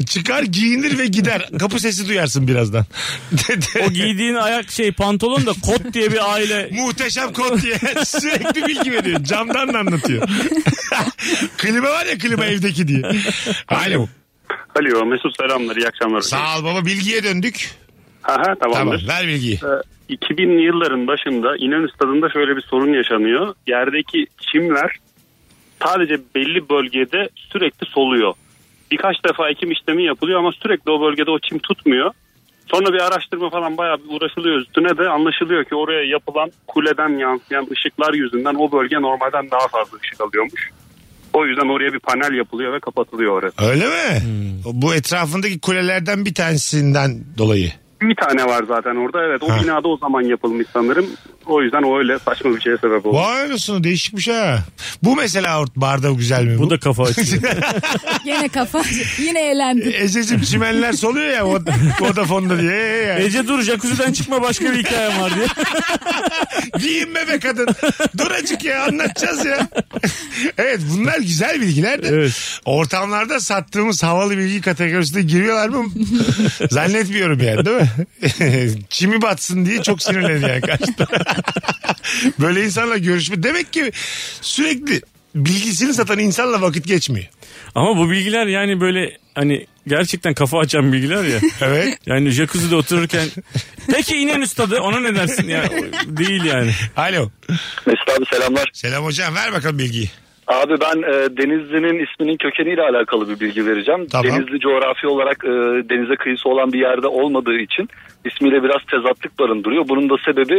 Çıkar giyinir ve gider. Kapı sesi duyarsın birazdan.
o giydiğin ayak şey pantolon da kot diye bir aile
Muhteşem kod diye sürekli bilgi veriyor. Camdan da anlatıyor. klima var ya klima evdeki diye. Alo.
Alo Mesut selamlar iyi akşamlar.
Sağ ol baba bilgiye döndük.
Aha,
Tamam
tamamdır.
ver bilgiyi.
Ee, 2000'li yılların başında İnönü Stadı'nda şöyle bir sorun yaşanıyor. Yerdeki çimler sadece belli bölgede sürekli soluyor. Birkaç defa ekim işlemi yapılıyor ama sürekli o bölgede o çim tutmuyor. Sonra bir araştırma falan bayağı bir uğraşılıyor üstüne de anlaşılıyor ki oraya yapılan kuleden yansıyan ışıklar yüzünden o bölge normalden daha fazla ışık alıyormuş. O yüzden oraya bir panel yapılıyor ve kapatılıyor orası.
Öyle mi?
Hmm.
Bu etrafındaki kulelerden bir tanesinden dolayı.
Bir tane var zaten orada evet o
Ha.
binada o zaman yapılmış sanırım. O yüzden o öyle saçma bir şeye sebep oldu.
Vay anasını değişikmiş ha. Bu mesela ort- barda güzel mi?
Bu da kafa açıyor.
Yine kafa yine eğlendim.
Ececiğim E, çimenler soluyor ya Vod- Vodafone'da diye. Ee, yani.
Ece dur jacuzzi'den çıkma başka bir hikayem var diye.
Giyinme be kadın. Dur acık ya anlatacağız ya. evet bunlar güzel bilgiler de.
Evet.
Ortamlarda sattığımız havalı bilgi kategorisine giriyorlar mı? Zannetmiyorum yani değil mi? Çimi batsın diye çok sinirleniyor yani karşıda. Böyle insanla görüşme. Demek ki sürekli bilgisini satan insanla vakit geçmiyor.
Ama bu bilgiler yani böyle hani gerçekten kafa açan bilgiler ya.
Evet.
Yani jacuzzi'de otururken peki inen üstadı ona ne dersin ya O- değil yani.
Alo.
Mesut abi selamlar.
Selam hocam ver bakalım bilgiyi.
Abi ben e, Denizli'nin isminin kökeniyle alakalı bir bilgi vereceğim.
Tamam.
Denizli coğrafi olarak e, denize kıyısı olan bir yerde olmadığı için ismiyle biraz tezatlık barındırıyor. Bunun da sebebi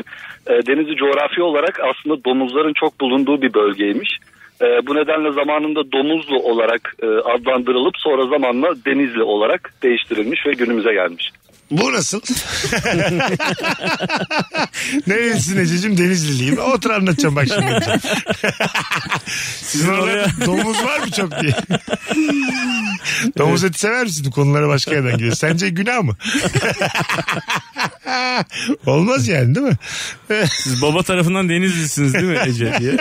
e, Denizli coğrafi olarak aslında domuzların çok bulunduğu bir bölgeymiş. E, bu nedenle zamanında Domuzlu olarak e, adlandırılıp sonra zamanla Denizli olarak değiştirilmiş ve günümüze gelmiş.
Bu nasıl? Nerelisin Ececiğim? Denizliliyim. Otur anlatacağım bak şimdi. Sizin orada
oraya-
domuz var mı çok diye. domuz eti sever misin? Bu Konulara başka yerden gidiyor. Sence günah mı? Olmaz yani değil mi?
Siz baba tarafından denizlisiniz değil mi Ece diye.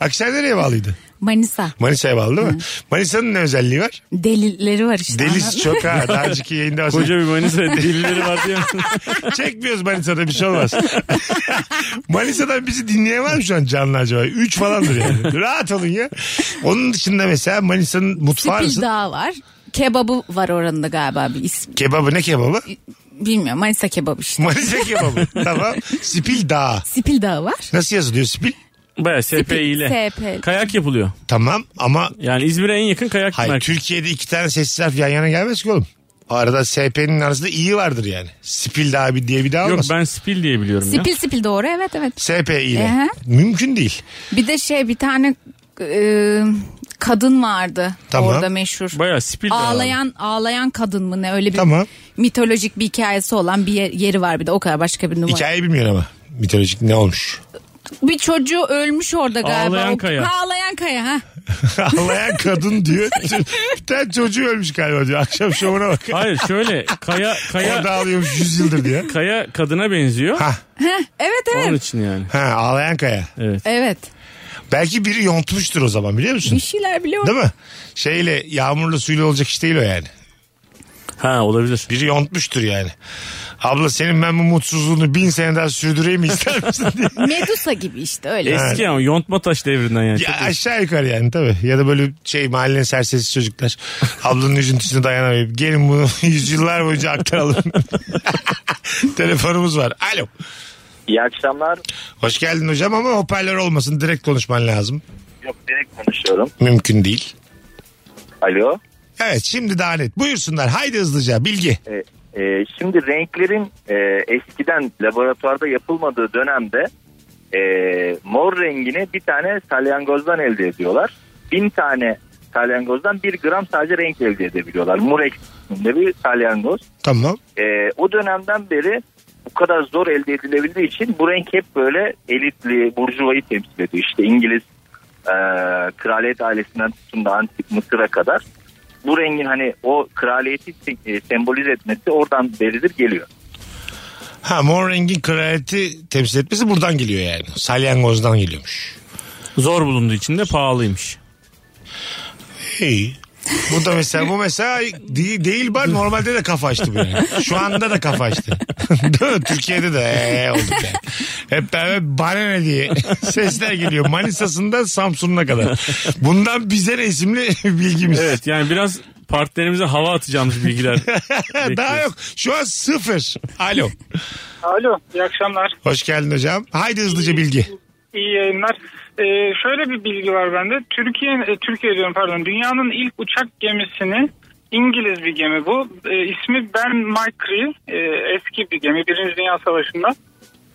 Akşam nereye bağlıydı?
Manisa.
Manisa'ya bağlı değil mi? Manisa'nın ne özelliği var?
Delilleri var işte.
Deliz
anladın mı?
çok ha. Daha önceki yayında bahsettik.
Koca bir Manisa delileri var diyor.
Çekmiyoruz Manisa'da bir şey olmaz. Manisa'dan bizi dinleyen var mı şu an canlı acaba? Üç falandır yani. Rahat olun ya. Onun dışında mesela Manisa'nın mutfağı
Spil
nasıl?
Dağı var. Kebabı var oranda galiba bir ismi.
Kebabı ne kebabı?
Bilmiyorum Manisa kebabı işte.
Manisa kebabı. tamam. Spil Dağı.
Spil Dağı var.
Nasıl yazılıyor Spil?
Baya SP ile.
SP.
Kayak yapılıyor.
Tamam ama
Yani İzmir'e en yakın kayak
hayır,
merkezi.
Türkiye'de iki tane sessiz harf yan yana gelmez ki oğlum. Arada SP'nin arasında iyi vardır yani. Spil Dağı bir diye bir daha
Yok
olmaz.
ben Spil diye biliyorum ya.
Spil spil doğru evet evet.
SP ile.
Ehe.
Mümkün değil.
Bir de şey bir tane e, kadın vardı
Tamam.
orada meşhur.
Baya Spil Dağı.
Ağlayan ağlayan kadın mı ne öyle bir
Tamam.
mitolojik bir hikayesi olan bir yer- yeri var bir de o kadar başka bir numara.
Hikayeyi bilmiyorum ama. Mitolojik ne olmuş?
Bir çocuğu ölmüş orada galiba.
Ağlayan
O-
kaya.
Ha, ağlayan kaya ha.
Ağlayan kadın diyor. Bir tane çocuğu ölmüş galiba diyor. Akşam şovuna bak.
Hayır şöyle kaya
Orada
kaya
ağlıyormuş 100 yıldır diye.
kaya kadına benziyor.
Ha.
Evet evet.
Onun için yani.
Ha ağlayan kaya.
Evet.
Evet.
Belki biri yontmuştur o zaman biliyor musun?
Bir şeyler biliyorum.
Değil mi? Şeyle yağmurlu suyla olacak iş değil o yani.
Ha olabilir.
Biri yontmuştur yani. Abla senin ben bu mutsuzluğunu bin sene daha sürdüreyim mi ister misin diye.
Medusa gibi işte öyle.
Eski ama yontma taş devrinden yani.
Ya aşağı yukarı yani tabii. Ya da böyle şey mahallenin serserisi çocuklar. Ablanın üzüntüsüne dayanamayıp gelin bunu yüzyıllar boyunca aktaralım. Telefonumuz var. Alo.
İyi akşamlar.
Hoş geldin hocam ama hoparlör olmasın. Direkt konuşman lazım.
Yok direkt konuşuyorum.
Mümkün değil.
Alo.
Evet şimdi daha net. Buyursunlar. Haydi hızlıca bilgi.
E, e, şimdi renklerin e, eskiden laboratuvarda yapılmadığı dönemde e, mor rengini bir tane salyangozdan elde ediyorlar. Bin tane salyangozdan bir gram sadece renk elde edebiliyorlar. Murex isminde bir salyangoz.
Tamam.
E, o dönemden beri bu kadar zor elde edilebildiği için bu renk hep böyle elitli, burjuvayı temsil ediyor. İşte İngiliz e, kraliyet ailesinden tutun da antik Mısır'a kadar bu rengin hani o kraliyeti se- e, sembolize etmesi oradan beridir geliyor.
Ha mor rengin kraliyeti temsil etmesi buradan geliyor yani. Salyangoz'dan geliyormuş.
Zor bulunduğu için de pahalıymış.
İyi. Bu da mesela bu mesela değil, değil var normalde de kafa açtı bu yani. Şu anda da kafa açtı. Değil mi? Türkiye'de de ee olduk yani. Hep beraber bana ne diye sesler geliyor. Manisa'sından Samsun'una kadar. Bundan bize ne isimli bilgimiz.
Evet yani biraz partilerimize hava atacağımız bilgiler.
Daha
bekliyoruz.
yok. Şu an sıfır. Alo.
Alo iyi akşamlar.
Hoş geldin hocam. Haydi hızlıca bilgi.
İyi yayınlar. Ee, şöyle bir bilgi var bende. Türkiye e, Türkiye diyorum pardon. Dünyanın ilk uçak gemisini İngiliz bir gemi bu. Ee, ismi Ben Micree. Ee, eski bir gemi. Birinci Dünya Savaşı'nda.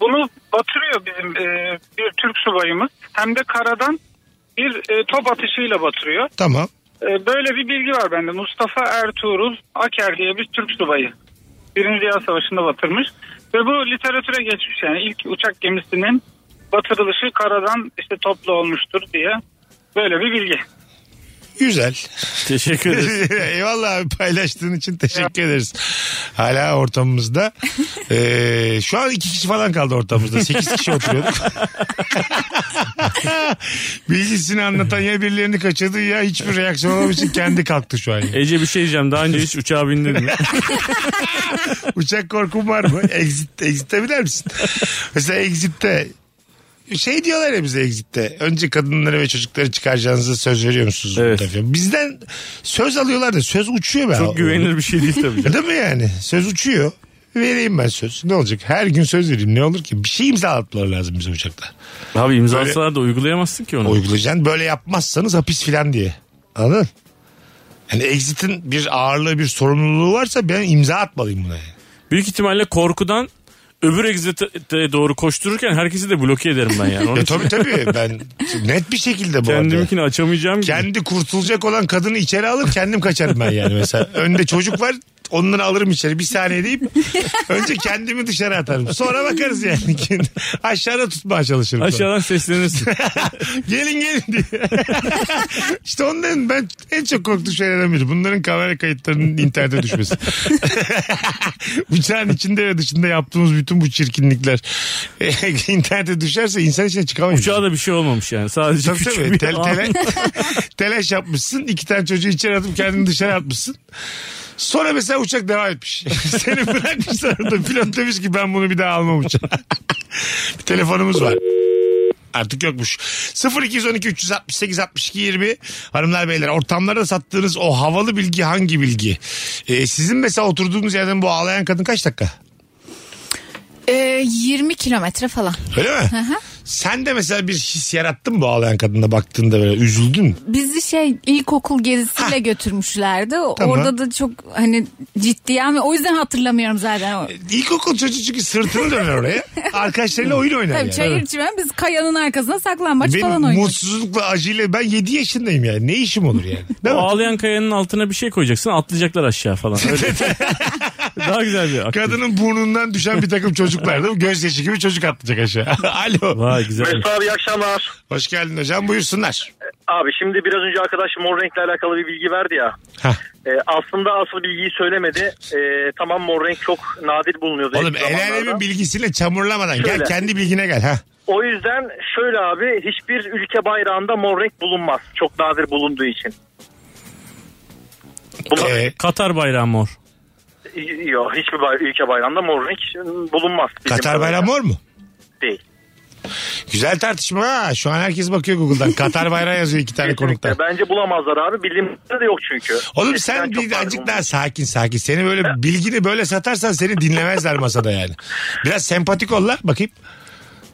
Bunu batırıyor bizim e, bir Türk subayımız. Hem de karadan bir e, top atışıyla batırıyor.
Tamam.
Ee, böyle bir bilgi var bende. Mustafa Ertuğrul Aker diye bir Türk subayı. Birinci Dünya Savaşı'nda batırmış. Ve bu literatüre geçmiş yani ilk uçak gemisinin batırılışı karadan işte toplu olmuştur diye böyle bir bilgi.
Güzel.
Teşekkür ederiz.
Eyvallah abi paylaştığın için teşekkür ederiz. Hala ortamımızda. Ee, şu an iki kişi falan kaldı ortamımızda. Sekiz kişi oturuyorduk. Bilgisini anlatan ya birilerini kaçırdı ya hiçbir reaksiyon olmadığı için kendi kalktı şu an.
Ece bir şey diyeceğim. Daha önce hiç uçağa bindin mi?
Uçak korkun var mı? Exit, exit'te biner misin? Mesela exit'te şey diyorlar ya bize exit'te. Önce kadınları ve çocukları çıkaracağınızı söz veriyor musunuz?
Evet.
Mustafa? Bizden söz alıyorlar da söz uçuyor be.
Çok güvenilir bir şey değil tabii. canım.
Değil mi yani? Söz uçuyor. Vereyim ben söz. Ne olacak? Her gün söz vereyim. Ne olur ki? Bir şey imzalatmaları lazım bize uçakta.
Abi imzalsalar da uygulayamazsın ki onu.
Uygulayacaksın. Böyle yapmazsanız hapis filan diye. Anladın? Yani exit'in bir ağırlığı bir sorumluluğu varsa ben imza atmalıyım buna. yani.
Büyük ihtimalle korkudan öbür exit'e doğru koştururken herkesi de bloke ederim ben yani. Onun
E
için
tabii tabii ben net bir şekilde bu arada.
Kendiminkini açamayacağım gibi.
Kendi kurtulacak olan kadını içeri alır kendim kaçarım ben yani mesela. Önde çocuk var onları alırım içeri bir saniye deyip önce kendimi dışarı atarım. Sonra bakarız yani. Aşağıda tutmaya çalışırım. sonra.
Aşağıdan seslenirsin.
Gelin gelin diye. işte onların ben en çok korktuğum şeylerden biri. Bunların kamera kayıtlarının internete düşmesi. Uçağın içinde ve dışında yaptığımız bütün bu çirkinlikler internete düşerse insan içine çıkamayız.
Uçağa da bir şey olmamış yani. Sadece
Tabii
küçük
tabii.
bir
Tel, tele, telaş yapmışsın. iki tane çocuğu içeri atıp kendini dışarı atmışsın. Sonra mesela uçak devam etmiş. Seni bırakmışlar orada. Pilot demiş ki ben bunu bir daha almam uçağa. bir telefonumuz var. Artık yokmuş. 0212 368 62 20 hanımlar beyler ortamlarda sattığınız o havalı bilgi hangi bilgi? Ee, sizin mesela oturduğunuz yerden bu ağlayan kadın kaç dakika?
Ee, 20 kilometre falan.
Öyle mi? Sen de mesela bir his yarattın mı bu ağlayan kadına baktığında böyle üzüldün mü?
Bizi şey ilkokul gezisiyle götürmüşlerdi. O-
Tamam.
Orada da çok hani ciddiyen ve o yüzden hatırlamıyorum zaten. O.
İlkokul çocuğu çünkü sırtını döner oraya. Arkadaşlarıyla oyun oynar
Tabii
yani.
çayır içmem biz kayanın arkasına saklambaç
Benim
falan oynuyoruz.
mutsuzlukla acıyla ben 7 yaşındayım yani. Ne işim olur yani?
O
Değil mi?
ağlayan kayanın altına bir şey koyacaksın atlayacaklar aşağı falan. Öyle. Daha güzel bir aktivite.
Kadının burnundan düşen bir takım çocuklar değil mi? Gözyaşı gibi çocuk atlayacak aşağı. Alo.
Vay güzel.
Mesut abi iyi akşamlar.
Hoş geldin hocam buyursunlar.
Abi şimdi biraz önce arkadaş mor renkle alakalı bir bilgi verdi ya.
Hah.
E, aslında asıl bilgiyi söylemedi. E, tamam mor renk çok nadir bulunuyordu.
Oğlum
eski
el
zamanlarda.
alemin bilgisiyle çamurlamadan
Şöyle.
gel kendi bilgine gel. Ha.
O yüzden şöyle abi hiçbir ülke bayrağında mor renk bulunmaz. Çok nadir bulunduğu için. Buna,
Ee,
Katar bayrağı mor.
Yok hiçbir bay- ülke bayrağında mor renk bulunmaz. Bizim
Katar bayrağı mor mu?
Değil.
Güzel tartışma ha. Şu an herkes bakıyor Google'dan. Katar bayrağı yazıyor iki tane konukta.
Kesinlikle. Bence bulamazlar abi. Bilimde de yok çünkü.
Oğlum
Eskiden
sen
çok
bir
vardı
azıcık
bunun.
daha sakin sakin. Seni böyle bilgini böyle satarsan seni dinlemezler masada yani. Biraz sempatik ol la bakayım.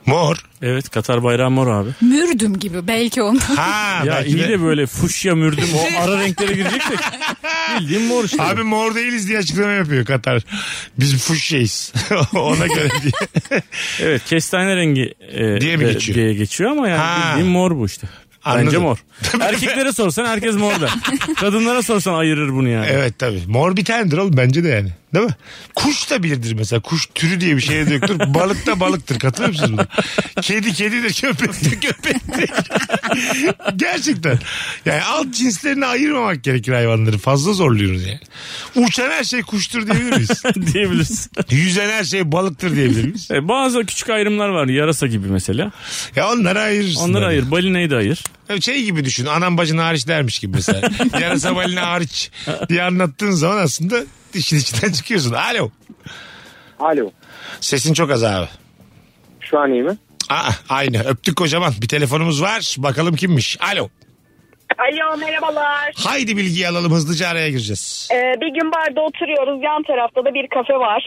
Mor.
Evet Katar bayrağı mor abi.
Mürdüm gibi belki ondan.
Ha
ya
belki
iyi
de-
de... böyle fuşya mürdüm o ara renklere gireceksek bildiğin mor işte.
Abi mor değiliz diye açıklama yapıyor Katar. Biz fuşyayız. Ona göre diye.
Evet kestane rengi e,
Diye mi
de-
geçiyor?
diye geçiyor ama yani
Ha.
bildiğin mor bu işte. Bence
Anladım.
mor. Erkeklere sorsan herkes mor der. Kadınlara sorsan ayırır bunu yani.
evet tabii. Mor bir tanedir oğlum bence de yani. Değil mi? Kuş da birdir mesela. Kuş türü diye bir şey de yoktur. Balık da balıktır. Katılıyor musunuz buna? Kedi kedidir. Köpek de köpektir. Gerçekten. Yani alt cinslerini ayırmamak gerekir hayvanları. Fazla zorluyoruz yani. Uçan her şey kuştur diyebilir miyiz?
diyebilirsin.
Yüzen her şey balıktır diyebilir miyiz?
E, bazı küçük ayrımlar var yarasa gibi mesela.
Ya onlara ayırırsın.
Onları
Yani.
ayır balinayı da ayır.
Şey gibi düşün. Anam bacın hariç dermiş gibi mesela. Yarasa balina hariç diye anlattığın zaman aslında işin içinden çıkıyorsun. Alo.
Alo.
Sesin çok az abi.
Şu an iyi mi?
Aa, aynı. Öptük kocaman. Bir telefonumuz var. Bakalım kimmiş. Alo.
Alo merhabalar.
Haydi bilgiyi alalım. Hızlıca araya gireceğiz.
Ee, bir gün barda oturuyoruz. Yan tarafta da bir kafe var.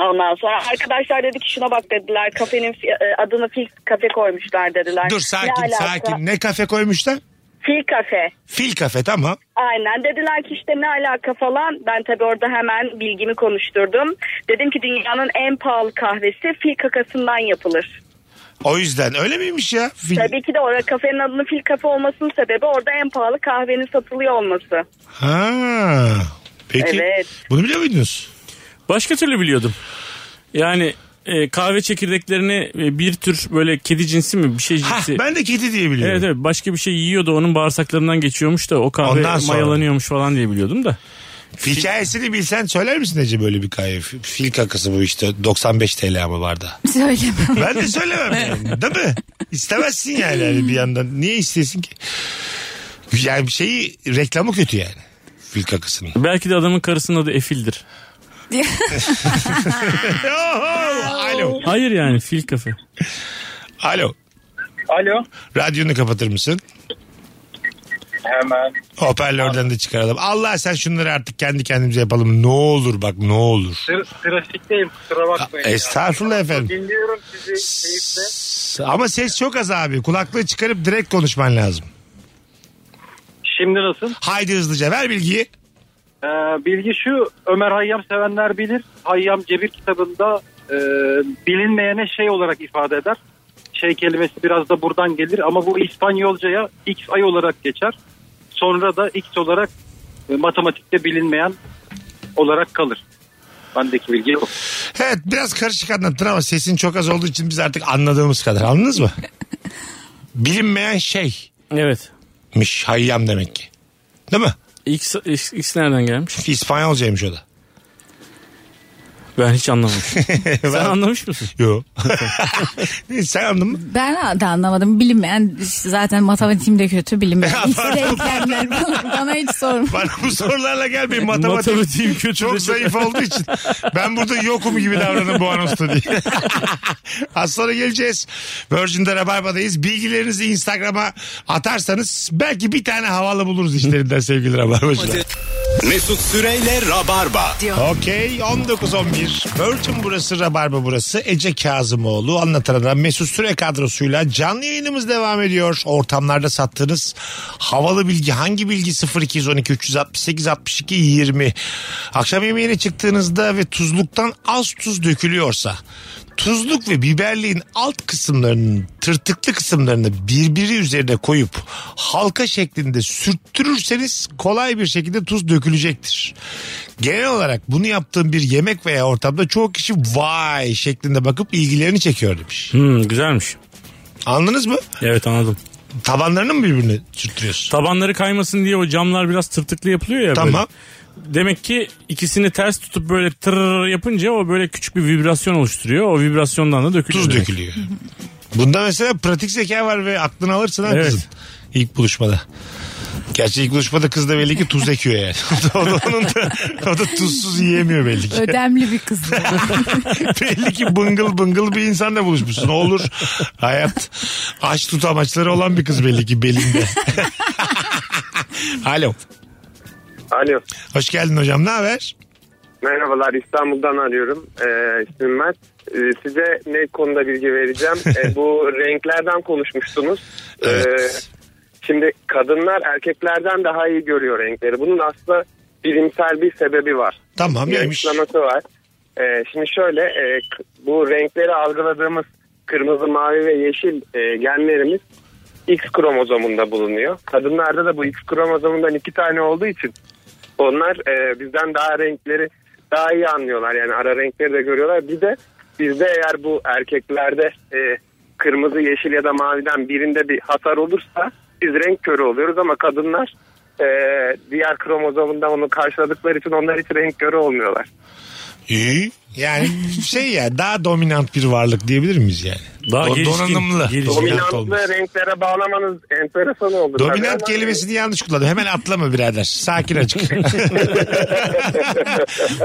Ondan sonra arkadaşlar dedi ki şuna bak dediler. Kafenin fi- e, adını fil kafe koymuşlar dediler.
Dur
Ne
sakin
alaka?
sakin. Ne kafe koymuşlar?
Fil kafe.
Fil kafe tamam.
Aynen dediler ki işte ne alaka falan. Ben tabii orada hemen bilgimi konuşturdum. Dedim ki dünyanın en pahalı kahvesi fil kakasından yapılır.
O yüzden öyle miymiş ya? Fil-
Tabii ki de orada kafenin adının fil kafe olmasının sebebi orada en pahalı kahvenin satılıyor olması.
Ha. Peki.
Evet.
Bunu biliyor muydunuz?
Başka türlü biliyordum. Yani e, kahve çekirdeklerini e, bir tür böyle kedi cinsi mi bir şey
Ha,
cinsi.
ben de kedi diye biliyorum.
Evet evet başka bir şey yiyordu onun bağırsaklarından geçiyormuş da o kahve
Ondan sonra.
mayalanıyormuş falan diye biliyordum da.
Hikayesini bilsen söyler misin Ece böyle bir kahve? F- Fil kakası bu işte 95 TL ama barda.
Söylemem.
Ben de söylemem yani. Değil mi? İstemezsin yani, hani bir yandan. Niye istesin ki? Yani bir şeyi reklamı kötü yani. Fil kakasının.
Belki de adamın karısının adı Efil'dir.
Oho! Alo.
Hayır yani fil kafe.
Alo.
Alo.
Radyonu kapatır mısın?
Hemen.
Hoparlörden de çıkaralım. Allah sen şunları artık kendi kendimize yapalım. Ne olur bak ne olur.
Tra- trafikteyim kusura bakmayın. ya.
Estağfurullah efendim.
Dinliyorum sizi keyifle.
Ama ses çok az abi. Kulaklığı çıkarıp direkt konuşman lazım.
Şimdi nasıl?
Haydi hızlıca ver bilgiyi.
Ee, bilgi şu Ömer Hayyam sevenler bilir. Hayyam Cebir kitabında e, bilinmeyene şey olarak ifade eder. Şey kelimesi biraz da buradan gelir ama bu İspanyolcaya X ay olarak geçer. Sonra da X olarak e, matematikte bilinmeyen olarak kalır. Bendeki bilgi yok.
Evet biraz karışık anlattın ama sesin çok az olduğu için biz artık anladığımız kadar anladınız mı? Bilinmeyen şeymiş
Evet.
hayyam demek ki. Değil mi?
X, X, X nereden gelmiş?
İspanyolcaymış o da.
Ben hiç anlamamışım. Sen
Ben-
anlamış mısın?
Yo. Neyse, Sen anladın mı?
Ben de anlamadım. Bilinmeyen zaten matematiğim de kötü bilinmeyen. İkisi denklemler falan. Bana hiç sorma.
Bana bu sorularla gelmeyin. Matematik
Matematiğim kötü
çok
de-
zayıf olduğu için. Ben burada yokum gibi davranın bu anonsta diye. Az sonra geleceğiz. Virgin'de Rabarba'dayız. Bilgilerinizi Instagram'a atarsanız belki bir tane havalı buluruz işlerinden sevgili Rabarbacılar.
Mesut Süreyle Rabarba.
Okey 19-11 Virgin burası Rabarba burası Ece Kazımoğlu anlatan adam Mesut Süre kadrosuyla canlı yayınımız devam ediyor. Ortamlarda sattığınız havalı bilgi hangi bilgi 0212 368 62 20 akşam yemeğine çıktığınızda ve tuzluktan az tuz dökülüyorsa tuzluk ve biberliğin alt kısımlarının tırtıklı kısımlarını birbiri üzerine koyup halka şeklinde sürttürürseniz kolay bir şekilde tuz dökülecektir. Genel olarak bunu yaptığım bir yemek veya ortamda çoğu kişi vay şeklinde bakıp ilgilerini çekiyor demiş.
Hmm, güzelmiş.
Anladınız mı?
Evet anladım.
Tabanlarını mı birbirine sürttürüyorsun?
Tabanları kaymasın diye o camlar biraz tırtıklı yapılıyor ya. böyle.
Tamam.
Demek ki ikisini ters tutup böyle tırrrr yapınca o böyle küçük bir vibrasyon oluşturuyor. O vibrasyondan da dökülüyor.
Tuz
demek.
dökülüyor. Bunda mesela pratik zeka var ve aklını alırsın ha
Evet.
kızın. İlk buluşmada. Gerçi ilk buluşmada kız da belli ki tuz ekiyor yani. o, da, onun da, o da tuzsuz yiyemiyor belli ki.
Ödemli bir kız.
belli ki bıngıl bıngıl bir insanla buluşmuşsun. Olur. Hayat aç tutamaçları olan bir kız belli ki belinde. Alo.
Alo.
Hoş geldin hocam. Ne haber?
Merhabalar İstanbul'dan arıyorum. Ee, ismim Mert. Ee, size ne konuda bilgi vereceğim? Ee, bu renklerden konuşmuştunuz. Ee,
Evet.
şimdi kadınlar erkeklerden daha iyi görüyor renkleri. Bunun aslında bilimsel bir sebebi var.
Tamam
Bir
neymiş?
açıklaması var. Ee, şimdi şöyle e, k- bu renkleri algıladığımız kırmızı, mavi ve yeşil e, genlerimiz X kromozomunda bulunuyor. Kadınlarda da bu X kromozomundan iki tane olduğu için onlar e, bizden daha renkleri daha iyi anlıyorlar. Yani ara renkleri de görüyorlar. Bir de bizde eğer bu erkeklerde e, kırmızı, yeşil ya da maviden birinde bir hasar olursa biz renk körü oluyoruz ama kadınlar e, diğer kromozomunda onu karşıladıkları için onlar hiç renk körü olmuyorlar.
İyi. Yani şey ya daha dominant bir varlık diyebilir miyiz yani?
Daha
Do-
gelişkin,
donanımlı.
gelişkin.
Dominant, olmuş.
Dominantlı renklere bağlamanız enteresan oldu. tabii ama-
Dominant kelimesini yanlış kullandım. Hemen atlama birader. Sakin açık.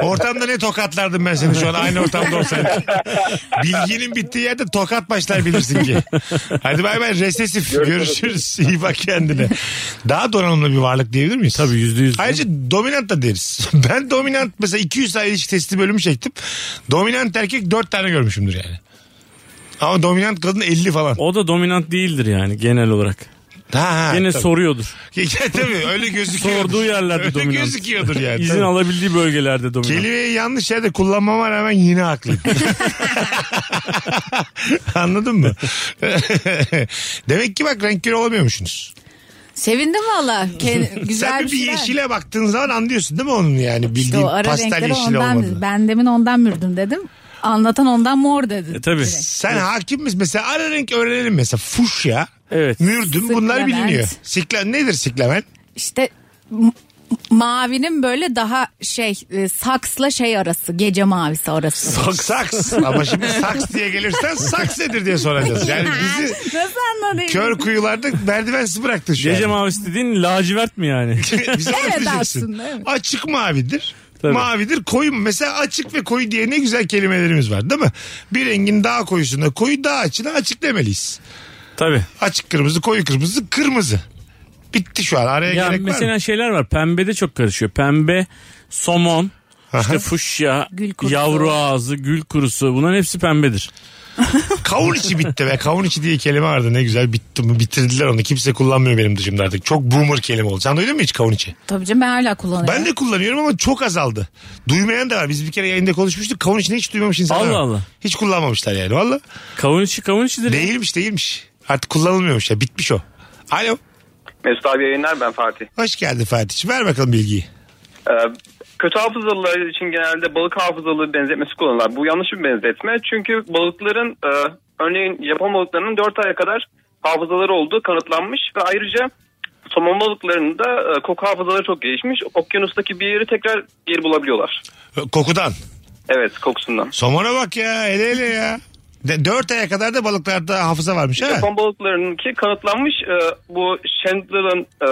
Ortamda ne tokatlardım ben seni şu an aynı ortamda olsaydık. Bilginin bittiği yerde tokat başlar bilirsin ki. Hadi bay bay resesif. Görüşürüz. İyi bak kendine. Daha donanımlı bir varlık diyebilir miyiz?
Tabii yüzde yüz.
Ayrıca dominant da deriz. Ben dominant mesela 200 tane ilişki testi bölümü çektim. Dominant erkek 4 tane görmüşümdür yani. Ama dominant kadın 50 falan.
O da dominant değildir yani genel olarak.
Ha, ha,
Yine
tabii.
soruyordur.
Ya, tabii öyle gözüküyor.
Sorduğu yerlerde
öyle
dominant.
gözüküyordur yani.
İzin
Tabii.
alabildiği bölgelerde dominant.
Kelimeyi yanlış yerde kullanmama rağmen yine haklıyım. Anladın mı? Demek ki bak renk körü olamıyormuşsunuz.
Sevindim valla. Ke- Güzel
Sen bir,
şeyler.
yeşile baktığın zaman anlıyorsun değil mi onun yani bildiğin
İşte o ara
pastel
renkleri
yeşil
ondan,
olmadığını.
ben demin ondan mürdüm dedim. Anlatan ondan mor dedi.
E, tabii.
Sen hakim misin? Mesela ara renk öğrenelim mesela. Fuşya,
Evet.
mürdüm bunlar
Siklement.
biliniyor. Siklen nedir siklemen?
İşte m- mavinin böyle daha şey e, saksla şey arası gece mavisi arası.
Saks. Saks. Ama şimdi saks diye gelirsen saks nedir diye soracağız. Yani bizi
Nasıl anladın?
kör kuyularda merdivensiz bıraktın şu
Gece
an.
mavisi dediğin lacivert mi yani?
Bize
Evet
anlatacaksın.
aslında, evet.
Açık mavidir.
Tabii.
Mavidir koyu mu? mesela açık ve koyu diye ne güzel kelimelerimiz var değil mi? Bir rengin daha koyusuna koyu daha açına açık demeliyiz.
Tabii.
Açık kırmızı koyu kırmızı kırmızı. Bitti şu an araya
Ya
gerek var
mesela
mı?
şeyler var. Pembede çok karışıyor. Pembe, somon, işte fuşya,
Gül kurusu.
yavru ağzı, gül kurusu. Bunların hepsi pembedir.
Kavun içi bitti be. Kavun içi diye kelime vardı ne güzel bitti mi bitirdiler onu. Kimse kullanmıyor benim dışımda artık. Çok boomer kelime oldu. Sen duydun mu hiç kavun içi?
Tabii canım ben hala kullanıyorum.
Ben de kullanıyorum ama çok azaldı. Duymayan da var. Biz bir kere yayında konuşmuştuk. Kavun içini hiç duymamış insanlar
Allah
var.
Allah.
Hiç kullanmamışlar yani valla.
Kavun içi kavun içidir.
Değilmiş değilmiş. Artık kullanılmıyormuş ya bitmiş o. Alo.
Mesut abi yayınlar ben Fatih.
Hoş geldin Fatih. Ver bakalım bilgiyi.
Ee, kötü hafızalılar için genelde balık hafızalı benzetmesi kullanırlar. Bu yanlış bir benzetme. Çünkü balıkların e, örneğin Japon balıklarının 4 aya kadar hafızaları olduğu kanıtlanmış ve ayrıca somon balıklarının da e, koku hafızaları çok gelişmiş. Okyanustaki bir yeri tekrar geri bulabiliyorlar.
Kokudan.
Evet kokusundan.
Somona bak ya hele hele ya. De, dört aya kadar da balıklarda hafıza varmış ha.
Japon balıklarınınki kanıtlanmış e, bu Chandler'ın e,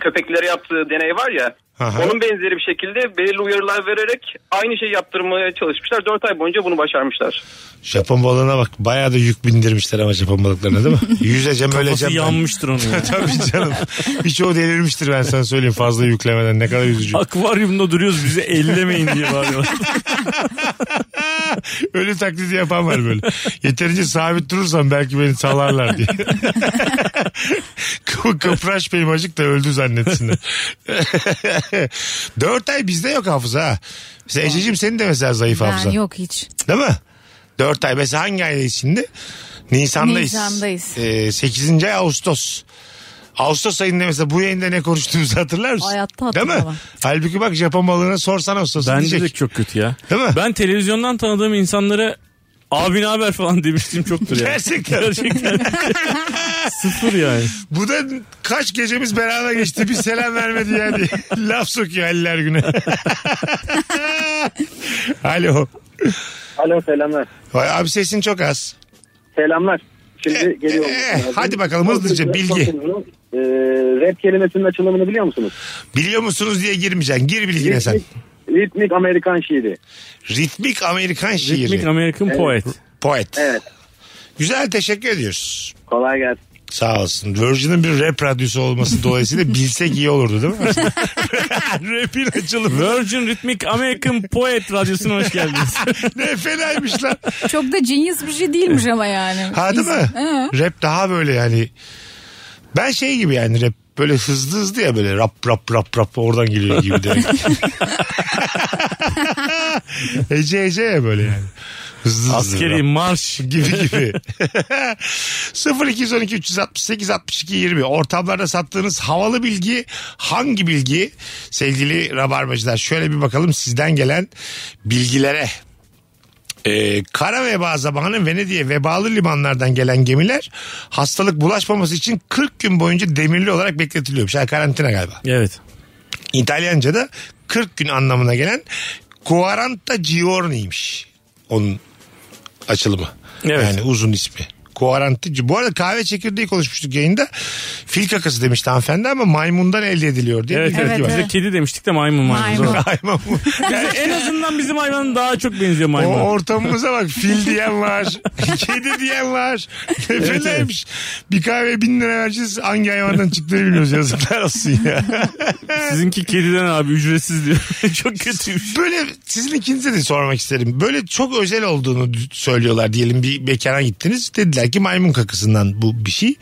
köpeklere yaptığı deney var ya
Aha.
onun benzeri bir şekilde belirli uyarılar vererek aynı şeyi yaptırmaya çalışmışlar. 4 ay boyunca bunu başarmışlar.
Japon balığına bak. Bayağı da yük bindirmişler ama Japon balıklarına değil mi? Yüzeceğim
Kafası
öleceğim. ben.
yanmıştır onun. ya.
Tabii canım. Birçoğu delirmiştir ben sana söyleyeyim fazla yüklemeden. Ne kadar üzücü.
Akvaryumda duruyoruz bizi ellemeyin diye bağırıyorlar.
Ölü taklidi yapan var böyle. Yeterince sabit durursam belki beni salarlar diye. Kı- Kıpraş benim acık da öldü zannetsinler. Dört ay bizde yok hafıza ha. Mesela Ececiğim senin de mesela zayıf hafıza.
Ben yok hiç.
Değil mi? Dört ay. Mesela hangi aydayız şimdi? Nisan'dayız.
Nisan'dayız.
Ee, 8. ay Ağustos. Ağustos ayında mesela bu yayında ne konuştuğumuzu hatırlar mısın?
Hayatta
Değil mi?
hatırlamam.
Halbuki bak Japon balığına sorsan Ağustos'u
Bence
diyecek.
de çok kötü ya.
Değil mi?
Ben televizyondan tanıdığım insanlara abi ne haber falan demiştim çoktur ya.
Gerçekten.
Gerçekten. Sıfır yani.
Bu da kaç gecemiz beraber geçti bir selam vermedi yani. Laf sokuyor Halil güne. Alo.
Alo selamlar.
Vay abi sesin çok az.
Selamlar. Şimdi
E,
geliyorum.
e, hadi bakalım hızlıca bilgi.
Ee, rap kelimesinin açılımını biliyor musunuz?
Biliyor musunuz diye girmeyeceksin. Gir bilgine sen.
Ritmik Amerikan şiiri.
Ritmik Amerikan şiiri.
Ritmik American Poet.
Poet.
Evet.
Güzel teşekkür ediyoruz.
Kolay gelsin.
Sağ olsun. Virgin'in bir rap radyosu olması dolayısıyla bilsek iyi olurdu değil mi? Rap'in açılımı.
Virgin Ritmik American Poet radyosuna hoş geldiniz.
ne fenaymış lan.
Çok da genius bir şey değilmiş ama yani.
Ha değil mi?
Hı.
Rap daha böyle yani. Ben şey gibi yani rap böyle hızlı hızlı ya böyle rap rap rap rap oradan geliyor gibi de. Ece Ece ya böyle yani. Hızlı hızlı.
Askeri
rap
marş.
gibi gibi. 0212 368 62 20 ortamlarda sattığınız havalı bilgi hangi bilgi sevgili rabarbacılar şöyle bir bakalım sizden gelen bilgilere ee, kara veba zamanı Venedik'e vebalı limanlardan gelen gemiler hastalık bulaşmaması için 40 gün boyunca demirli olarak bekletiliyormuş. Ha, karantina galiba.
Evet.
İtalyanca'da 40 gün anlamına gelen Quaranta Giorni'ymiş. Onun açılımı.
Evet.
Yani uzun ismi. Quaranta Gi- Bu arada kahve çekirdeği konuşmuştuk yayında. Fil kakası demişti hanımefendi ama maymundan elde ediliyor diye
Evet,
bir
evet,
bilgi var.
Bize kedi demiştik de maymun maymun.
Maymun.
Maymun bu.
Yani en azından bizim hayvanın daha çok benziyor
O
maymuna.
ortamımıza bak fil diyen var. kedi diyen var. Nefelemiş. Bir kahve bin lira vereceğiz. Hangi hayvandan çıktığını bilmiyoruz. Yazıklar olsun ya.
Sizinki kediden abi ücretsiz diyor. çok kötüymüş.
Böyle sizin ikinize de sormak isterim. Böyle çok özel olduğunu d- söylüyorlar diyelim bir mekana gittiniz. Dediler ki maymun kakısından bu bir şey.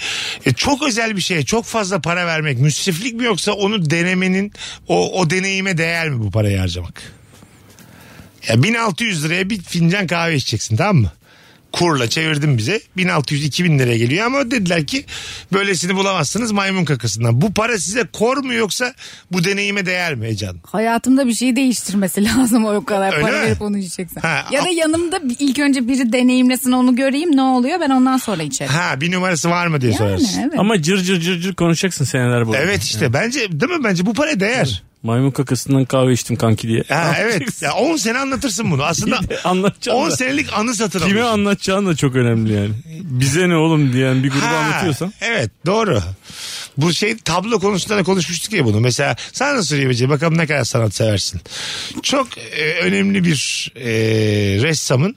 E, çok özel bir şeye çok fazla para vermek müsriflik mi yoksa onu denemenin o, o deneyime değer mi bu parayı harcamak? Ya 1600 liraya bir fincan kahve içeceksin tamam mı? kurla çevirdim bize. 1600-2000 liraya geliyor ama dediler ki böylesini bulamazsınız maymun kakasından. Bu para size kor mu yoksa bu deneyime değer mi Ece
Hayatımda bir şey değiştirmesi lazım o kadar
Öyle
para
mi?
verip onu içeceksen.
Ha,
ya da
a-
yanımda bir- ilk önce biri deneyimlesin onu göreyim ne oluyor ben ondan sonra içerim.
Ha bir numarası var mı diye
Yani
sorarsın.
evet.
Ama cır cır cır cır konuşacaksın seneler boyunca.
Evet işte bence değil mi bence bu para değer.
Maymun kakasından kahve içtim kanki diye.
Ha, evet. Ya 10 sene anlatırsın bunu. Aslında
Anlatacağım
10
da.
senelik anı satın
Kime
alıyorsun.
anlatacağın da çok önemli yani. Bize ne oğlum diyen bir gruba
Ha,
anlatıyorsan.
Evet doğru. Bu şey tablo konusunda da konuşmuştuk ya bunu. Mesela sana da sorayım Ece bakalım ne kadar sanat seversin. Çok e, önemli bir e, ressamın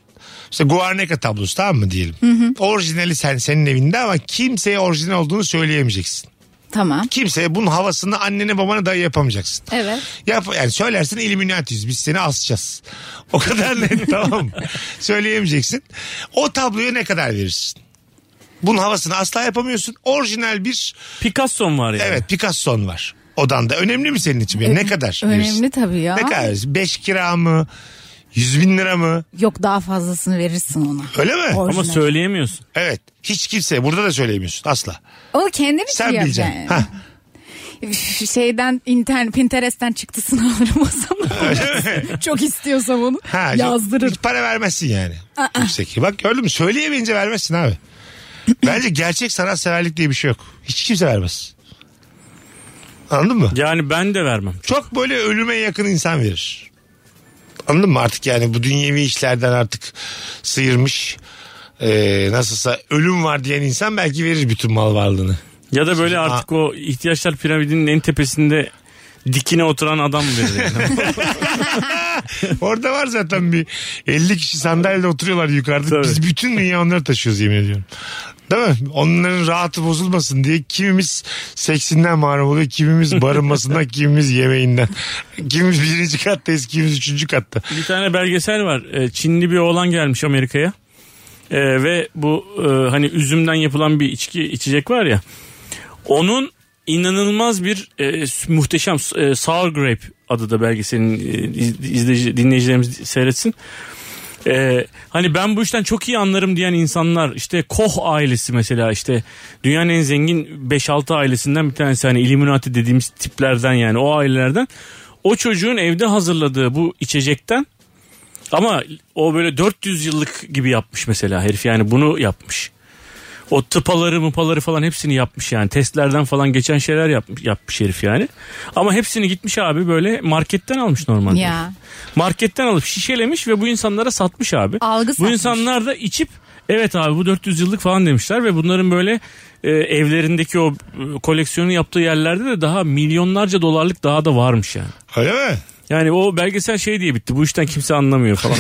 işte Guarneca tablosu tamam mı diyelim. Orijinali sen senin evinde ama kimseye orijinal olduğunu söyleyemeyeceksin.
Tamam.
Kimseye bunun havasını annene babana dahi yapamayacaksın.
Evet.
Yap, yani söylersin Illuminati'yiz biz seni asacağız. O kadar net tamam mı? Söyleyemeyeceksin. O tabloya ne kadar verirsin? Bunun havasını asla yapamıyorsun. Orijinal bir
Picasso'm var yani.
evet Picasso'n var. Odanda. Önemli mi senin için? Yani ne kadar
Önemli
verirsin?
tabii ya.
Ne kadar verirsin? Beş kira mı? Yüz bin lira mı?
Yok daha fazlasını verirsin ona.
Öyle mi?
Ama
Orijinal.
söyleyemiyorsun.
Evet. Hiç kimse burada da söyleyemiyorsun asla.
Onu kendin için
Sen
yapacaksın.
bileceksin. Hah.
Üf, Şeyden internet Pinterest'ten çıktısını alırım o zaman.
Öyle mi?
Çok istiyorsam onu
Ha,
yazdırır.
Hiç para vermezsin yani. Yüksek. Bak gördün mü? Söyleyemeyince vermezsin abi. Bence gerçek sanatseverlik diye bir şey yok. Hiç kimse vermez. Anladın mı?
Yani ben de vermem.
Çok böyle ölüme yakın insan verir. Anladın mı artık yani bu dünyevi işlerden artık sıyırmış. Ee, nasılsa ölüm var diyen insan belki verir bütün mal varlığını.
Ya da böyle artık o ihtiyaçlar piramidinin en tepesinde dikine oturan adam verir. yani.
Orada var zaten bir 50 kişi sandalyede oturuyorlar yukarıda.
Tabii.
Biz bütün dünya onları taşıyoruz yemin ediyorum. Değil mi? Onların rahatı bozulmasın diye kimimiz seksinden mahrum oluyor, kimimiz barınmasından, kimimiz yemeğinden. Kimimiz birinci kattayız, kimimiz üçüncü katta.
bir tane belgesel var. Ee, Çinli bir oğlan gelmiş Amerika'ya. Ee, ve bu e, hani üzümden yapılan bir içki içecek var ya. Onun inanılmaz bir e, s- muhteşem e, Sour Grape adı da belgeselin e, iz- izleyici, dinleyicilerimiz seyretsin. Ee, hani ben bu işten çok iyi anlarım diyen insanlar işte Koch ailesi mesela işte dünyanın en zengin 5-6 ailesinden bir tanesi hani Illuminati dediğimiz tiplerden yani o ailelerden o çocuğun evde hazırladığı bu içecekten ama o böyle 400 yıllık gibi yapmış mesela herif yani bunu yapmış. O tıpaları mıpaları falan hepsini yapmış yani testlerden falan geçen şeyler yapmış, yapmış herif yani. Ama hepsini gitmiş abi böyle marketten almış normalde.
Ya.
Marketten alıp şişelemiş ve bu insanlara satmış abi.
Algı
bu
satmış.
insanlar da içip evet abi bu 400 yıllık falan demişler ve bunların böyle e, evlerindeki o e, koleksiyonu yaptığı yerlerde de daha milyonlarca dolarlık daha da varmış yani.
Öyle mi?
Yani o belgesel şey diye bitti. Bu işten kimse anlamıyor falan.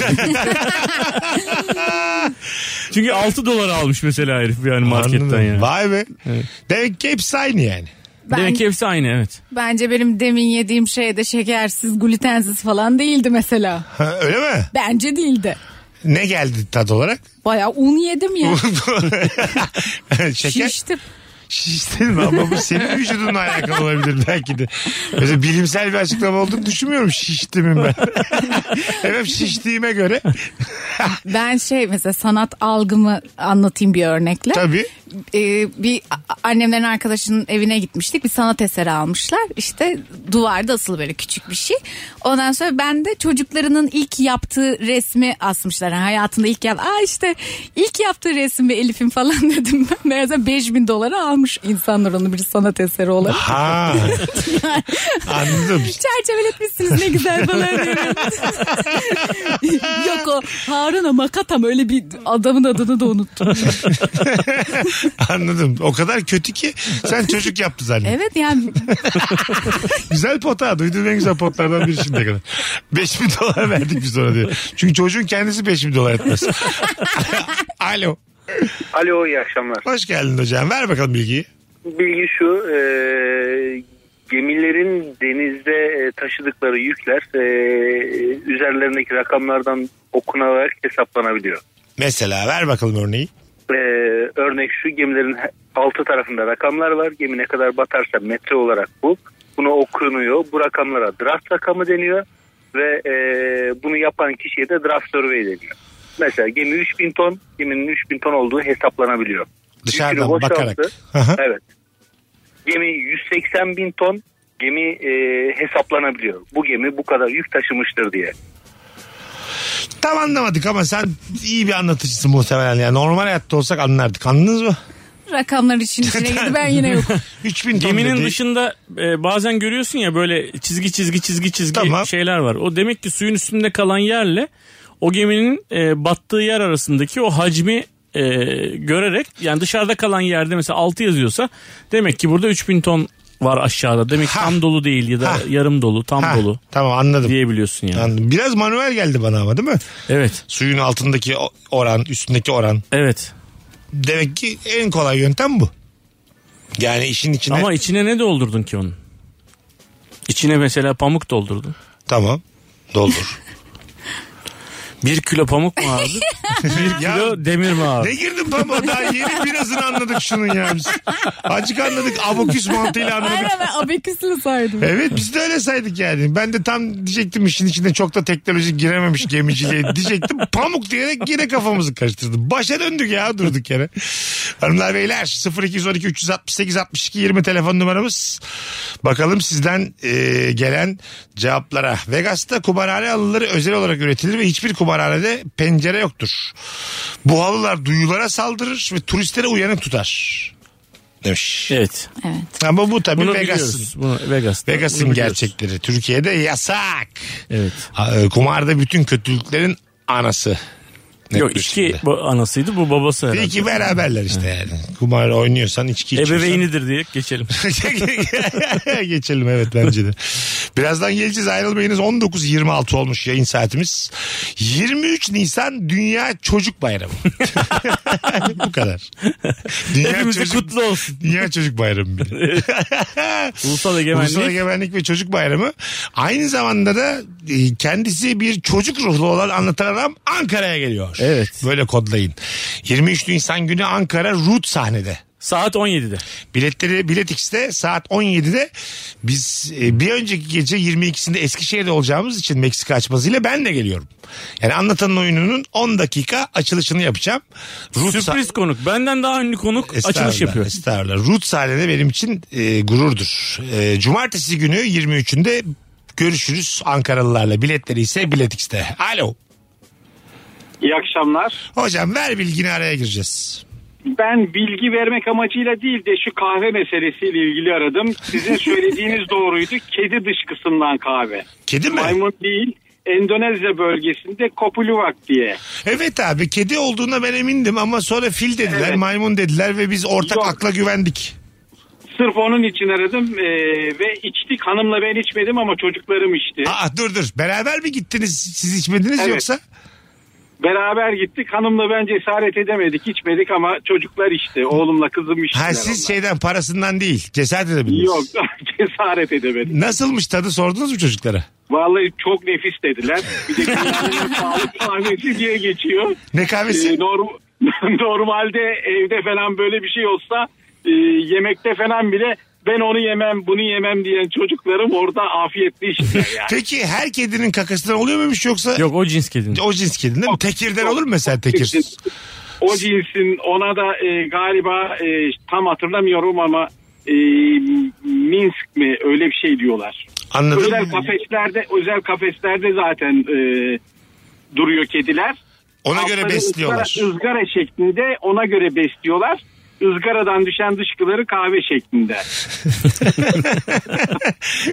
Çünkü 6 dolar almış mesela herif yani marketten
Anladım.
yani.
Vay be. Demek ki hepsi aynı yani.
Demek
Ben-
ki hepsi aynı evet.
Bence benim demin yediğim şey de şekersiz, glutensiz falan değildi mesela.
Ha, öyle mi?
Bence değildi.
Ne geldi tat olarak?
Bayağı un yedim ya.
Şeker
Şiştim.
şiştin mi? Ama bu senin vücudunla alakalı olabilir belki de. Mesela bilimsel bir açıklama olduğunu düşünmüyorum. Şiştimim ben. Efendim şiştiğime göre
Ben şey mesela sanat algımı anlatayım bir örnekle.
tabii.
Ee, bir a- annemlerin arkadaşının evine gitmiştik. Bir sanat eseri almışlar. İşte duvarda asılı böyle küçük bir şey. Ondan sonra ben de çocuklarının ilk yaptığı resmi asmışlar. Yani hayatında ilk yap. Aa işte ilk yaptığı resim ve Elif'in falan dedim. Ben meğerse 5000 dolara almış insanlar onu bir sanat eseri olarak.
Ha. Anladım.
Çerçeveletmişsiniz ne güzel falan diyorum. Yok o Harun'a Makatam öyle bir adamın adını da unuttum.
Anladım. O kadar kötü ki sen çocuk yaptı zannediyorsun.
Evet yani
Güzel pota. Duyduğum en güzel potlardan biri şimdiye kadar. 5 bin dolar verdik biz ona diyor. Çünkü çocuğun kendisi 5 bin dolar etmez. Alo.
Alo iyi akşamlar.
Hoş geldin hocam. Ver bakalım bilgiyi.
Bilgi şu e, gemilerin denizde e, taşıdıkları yükler e, üzerlerindeki rakamlardan okunarak hesaplanabiliyor.
Mesela ver bakalım örneği.
E, örnek şu gemilerin he- altı tarafında rakamlar var. Gemi ne kadar batarsa metre olarak bu. Bunu okunuyor. Bu rakamlara draft rakamı deniyor ve e, bunu yapan kişiye de draft survey deniyor. Mesela gemi 3000 ton, geminin 3000 ton olduğu hesaplanabiliyor. Yükünü
Dışarıdan
boşalttı.
bakarak. Hı hı.
Evet. Gemi 180 bin ton gemi e, hesaplanabiliyor. Bu gemi bu kadar yük taşımıştır diye.
Tam anlamadık ama sen iyi bir anlatıcısın muhtemelen. Yani normal hayatta olsak anlardık. Anladınız mı?
Rakamlar için içine girdi ben yine yok.
3000 ton
Geminin
dedi.
dışında e, bazen görüyorsun ya böyle çizgi çizgi çizgi çizgi
Tamam.
şeyler var. O demek ki suyun üstünde kalan yerle o geminin e, battığı yer arasındaki o hacmi e, görerek yani dışarıda kalan yerde mesela 6 yazıyorsa demek ki burada 3000 ton var aşağıda. Demek ki
Ha.
tam dolu değil ya da
Ha.
yarım dolu, tam
Ha,
dolu
Tamam anladım.
diyebiliyorsun yani.
Anladım. Biraz manuel geldi bana ama değil mi?
Evet.
Suyun altındaki o- oran, üstündeki oran.
Evet.
Demek ki en kolay yöntem bu. Yani işin içine
Ama içine ne doldurdun ki onun? İçine mesela pamuk doldurdun.
tamam doldur.
Bir kilo pamuk mu abi? Bir
Ya-
kilo demir mi abi?
ne girdin pamuğa daha yeni birazını anladık şunun ya biz. Acık anladık abaküs mantığıyla anladık.
Aynen ben abeküsle saydım.
Evet biz de öyle saydık yani. Ben de tam diyecektim işin içinde çok da teknoloji girememiş gemiciliğe diyecektim. Pamuk diyerek yine kafamızı karıştırdım. Başa döndük ya durduk yere. Hanımlar beyler 0212 368 62 20 telefon numaramız. Bakalım sizden e, gelen cevaplara. Vegas'ta kumarhane halıları özel olarak üretilir ve hiçbir kumarhanede pencere yoktur. Bu halılar duyulara saldırır ve turistlere uyanık tutar. Demiş.
Evet.
Evet.
Ama bu tabii
Bunu
Vegas'ın.
biliyoruz. Bunu Vegas'ta.
Vegas'ın
Bunu biliyoruz.
gerçekleri. Türkiye'de yasak.
Evet.
Ha, e, Kumarda bütün kötülüklerin anası. Net
Yok
bir
içki
şekilde.
bu anasıydı bu babası herhalde.
İyi ki beraberler işte yani. Kumar oynuyorsan içki içiyorsan.
Ebeveynidir diye geçelim.
Geçelim evet bence de. Birazdan geleceğiz ayrılmayınız. 19.26 olmuş yayın saatimiz. 23 Nisan Dünya Çocuk Bayramı. Bu kadar. Dünya
Hepimize
Çocuk,
kutlu olsun.
Dünya Çocuk Bayramı bir de.
Ulusal egemenlik.
Ulusal Egemenlik ve Çocuk Bayramı. Aynı zamanda da e, kendisi bir çocuk ruhlu olan anlatan adam Ankara'ya geliyor.
Evet.
Böyle kodlayın. 23 Nisan günü Ankara Rut sahnede.
Saat 17'de.
Biletleri Bilet X'de saat 17'de biz e, bir önceki gece 22'sinde Eskişehir'de olacağımız için Meksika açmasıyla ben de geliyorum. Yani anlatanın oyununun 10 dakika açılışını yapacağım. Rut sa-
Sürpriz konuk. Benden daha ünlü konuk açılış
Estağfurullah,
yapıyor.
Estağfurullah. Rut sahnede benim için e, gururdur. E, cumartesi günü 23'ünde görüşürüz Ankaralılarla. Biletleri ise biletikste. Alo.
İyi akşamlar.
Hocam ver bilgini araya gireceğiz.
Ben bilgi vermek amacıyla değil de şu kahve meselesiyle ilgili aradım. Sizin söylediğiniz doğruydu. Kedi dışkısından kahve.
Kedi mi?
Maymun değil. Endonezya bölgesinde Kopuluvak diye.
Evet abi kedi olduğuna ben emindim ama sonra fil dediler,
Evet.
maymun dediler ve biz ortak
Yok.
akla güvendik.
Sırf onun için aradım ee, ve içtik. Hanımla ben içmedim ama çocuklarım içti.
Aa dur dur. Beraber mi gittiniz? Siz içmediniz
Evet.
yoksa?
Beraber gittik. Hanımla ben cesaret edemedik. içmedik ama çocuklar içti. Oğlumla kızım içtiler.
Ha siz şey-
onlar.
şeyden parasından değil. Cesaret edebildiniz.
Yok cesaret edemedik.
Nasılmış tadı sordunuz mu çocuklara?
Vallahi çok nefis dediler. Bir de dünyanın sağlık kahvesi diye geçiyor.
Ne kahvesi?
Ee, norm- normalde evde falan böyle bir şey olsa e, yemekte falan bile ben onu yemem bunu yemem diyen çocuklarım orada afiyetli işler yani.
Peki her kedinin kakasından oluyor muymuş yoksa?
Yok o cins kedinin.
O cins kedi değil mi? Tekirden olur mu mesela tekir?
O cinsin ona da e, galiba e, tam hatırlamıyorum ama e, Minsk mi öyle bir şey diyorlar.
Anladım.
Özel kafeslerde özel kafeslerde zaten e, duruyor kediler.
Ona göre
Altları
besliyorlar.
ızgara- ızgara şeklinde ona göre besliyorlar. Izgaradan düşen dışkıları kahve şeklinde.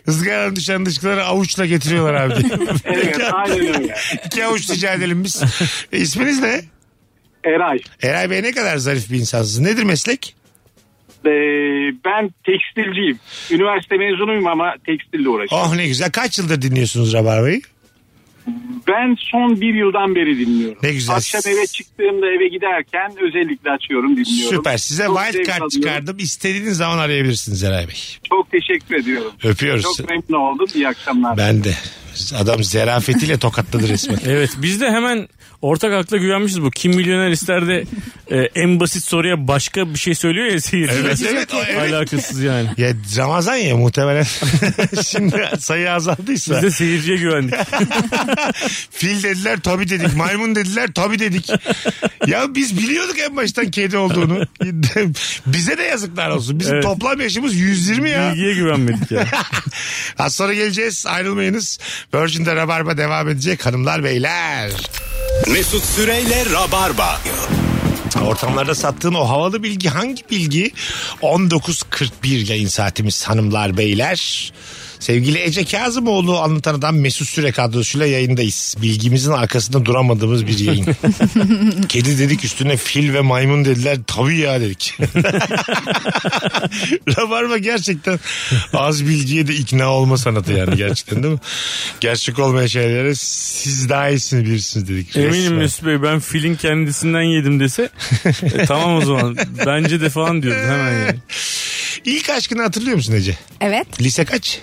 Izgaranın düşen dışkıları avuçla getiriyorlar abi.
Evet aynen öyle.
İki avuç rica edelim biz. E, isminiz ne?
Eray
Eray Bey ne kadar zarif bir insansınız. Nedir meslek?
e, ben tekstilciyim. Üniversite mezunuyum ama tekstille uğraşıyorum.
Oh ne güzel. Kaç yıldır dinliyorsunuz Rabarba'yı?
Ben son bir yıldan beri dinliyorum.
Ne güzel.
Akşam eve çıktığımda eve giderken özellikle açıyorum dinliyorum.
Süper. Size
Çok
wild
zevk
card
alıyorum.
çıkardım. İstediğiniz zaman arayabilirsiniz Eray Bey.
Çok teşekkür ediyorum.
Öpüyoruz.
Çok memnun oldum. İyi akşamlar.
Ben de. Adam zerafetiyle tokatladı resmen.
Evet biz de hemen ortak akla güvenmişiz bu. Kim milyoner isterde e, en basit soruya başka bir şey söylüyor ya seyirciler.
Evet, evet, o, evet.
Alakasız yani.
Ya Ramazan ya muhtemelen. Şimdi sayı azaldıysa.
Biz de seyirciye güvendik.
Fil dediler tabi dedik. Maymun dediler tabi dedik. Ya biz biliyorduk en baştan kedi olduğunu. Bize de yazıklar olsun. Bizim
Evet.
toplam yaşımız 120 ya.
Bilgiye güvenmedik ya.
Az sonra geleceğiz ayrılmayınız. Virgin'de Rabarba devam edecek hanımlar beyler.
Mesut Süreyle Rabarba.
Ortamlarda sattığın o havalı bilgi hangi bilgi? 19.41 yayın saatimiz hanımlar beyler. Sevgili Ece Kazımoğlu anlatan adam Mesut Süre kadrosuyla yayındayız. Bilgimizin arkasında duramadığımız bir yayın. Kedi dedik üstüne fil ve maymun dediler. Tabii ya dedik. Rabarba gerçekten az bilgiye de ikna olma sanatı yani gerçekten değil mi? Gerçek olmayan şeylere siz daha iyisini bilirsiniz dedik.
Eminim
Resmen.
Mesut Bey ben filin kendisinden yedim dese e, tamam o zaman bence de falan diyordu hemen yani.
İlk aşkını hatırlıyor musun Ece?
Evet.
Lise kaç?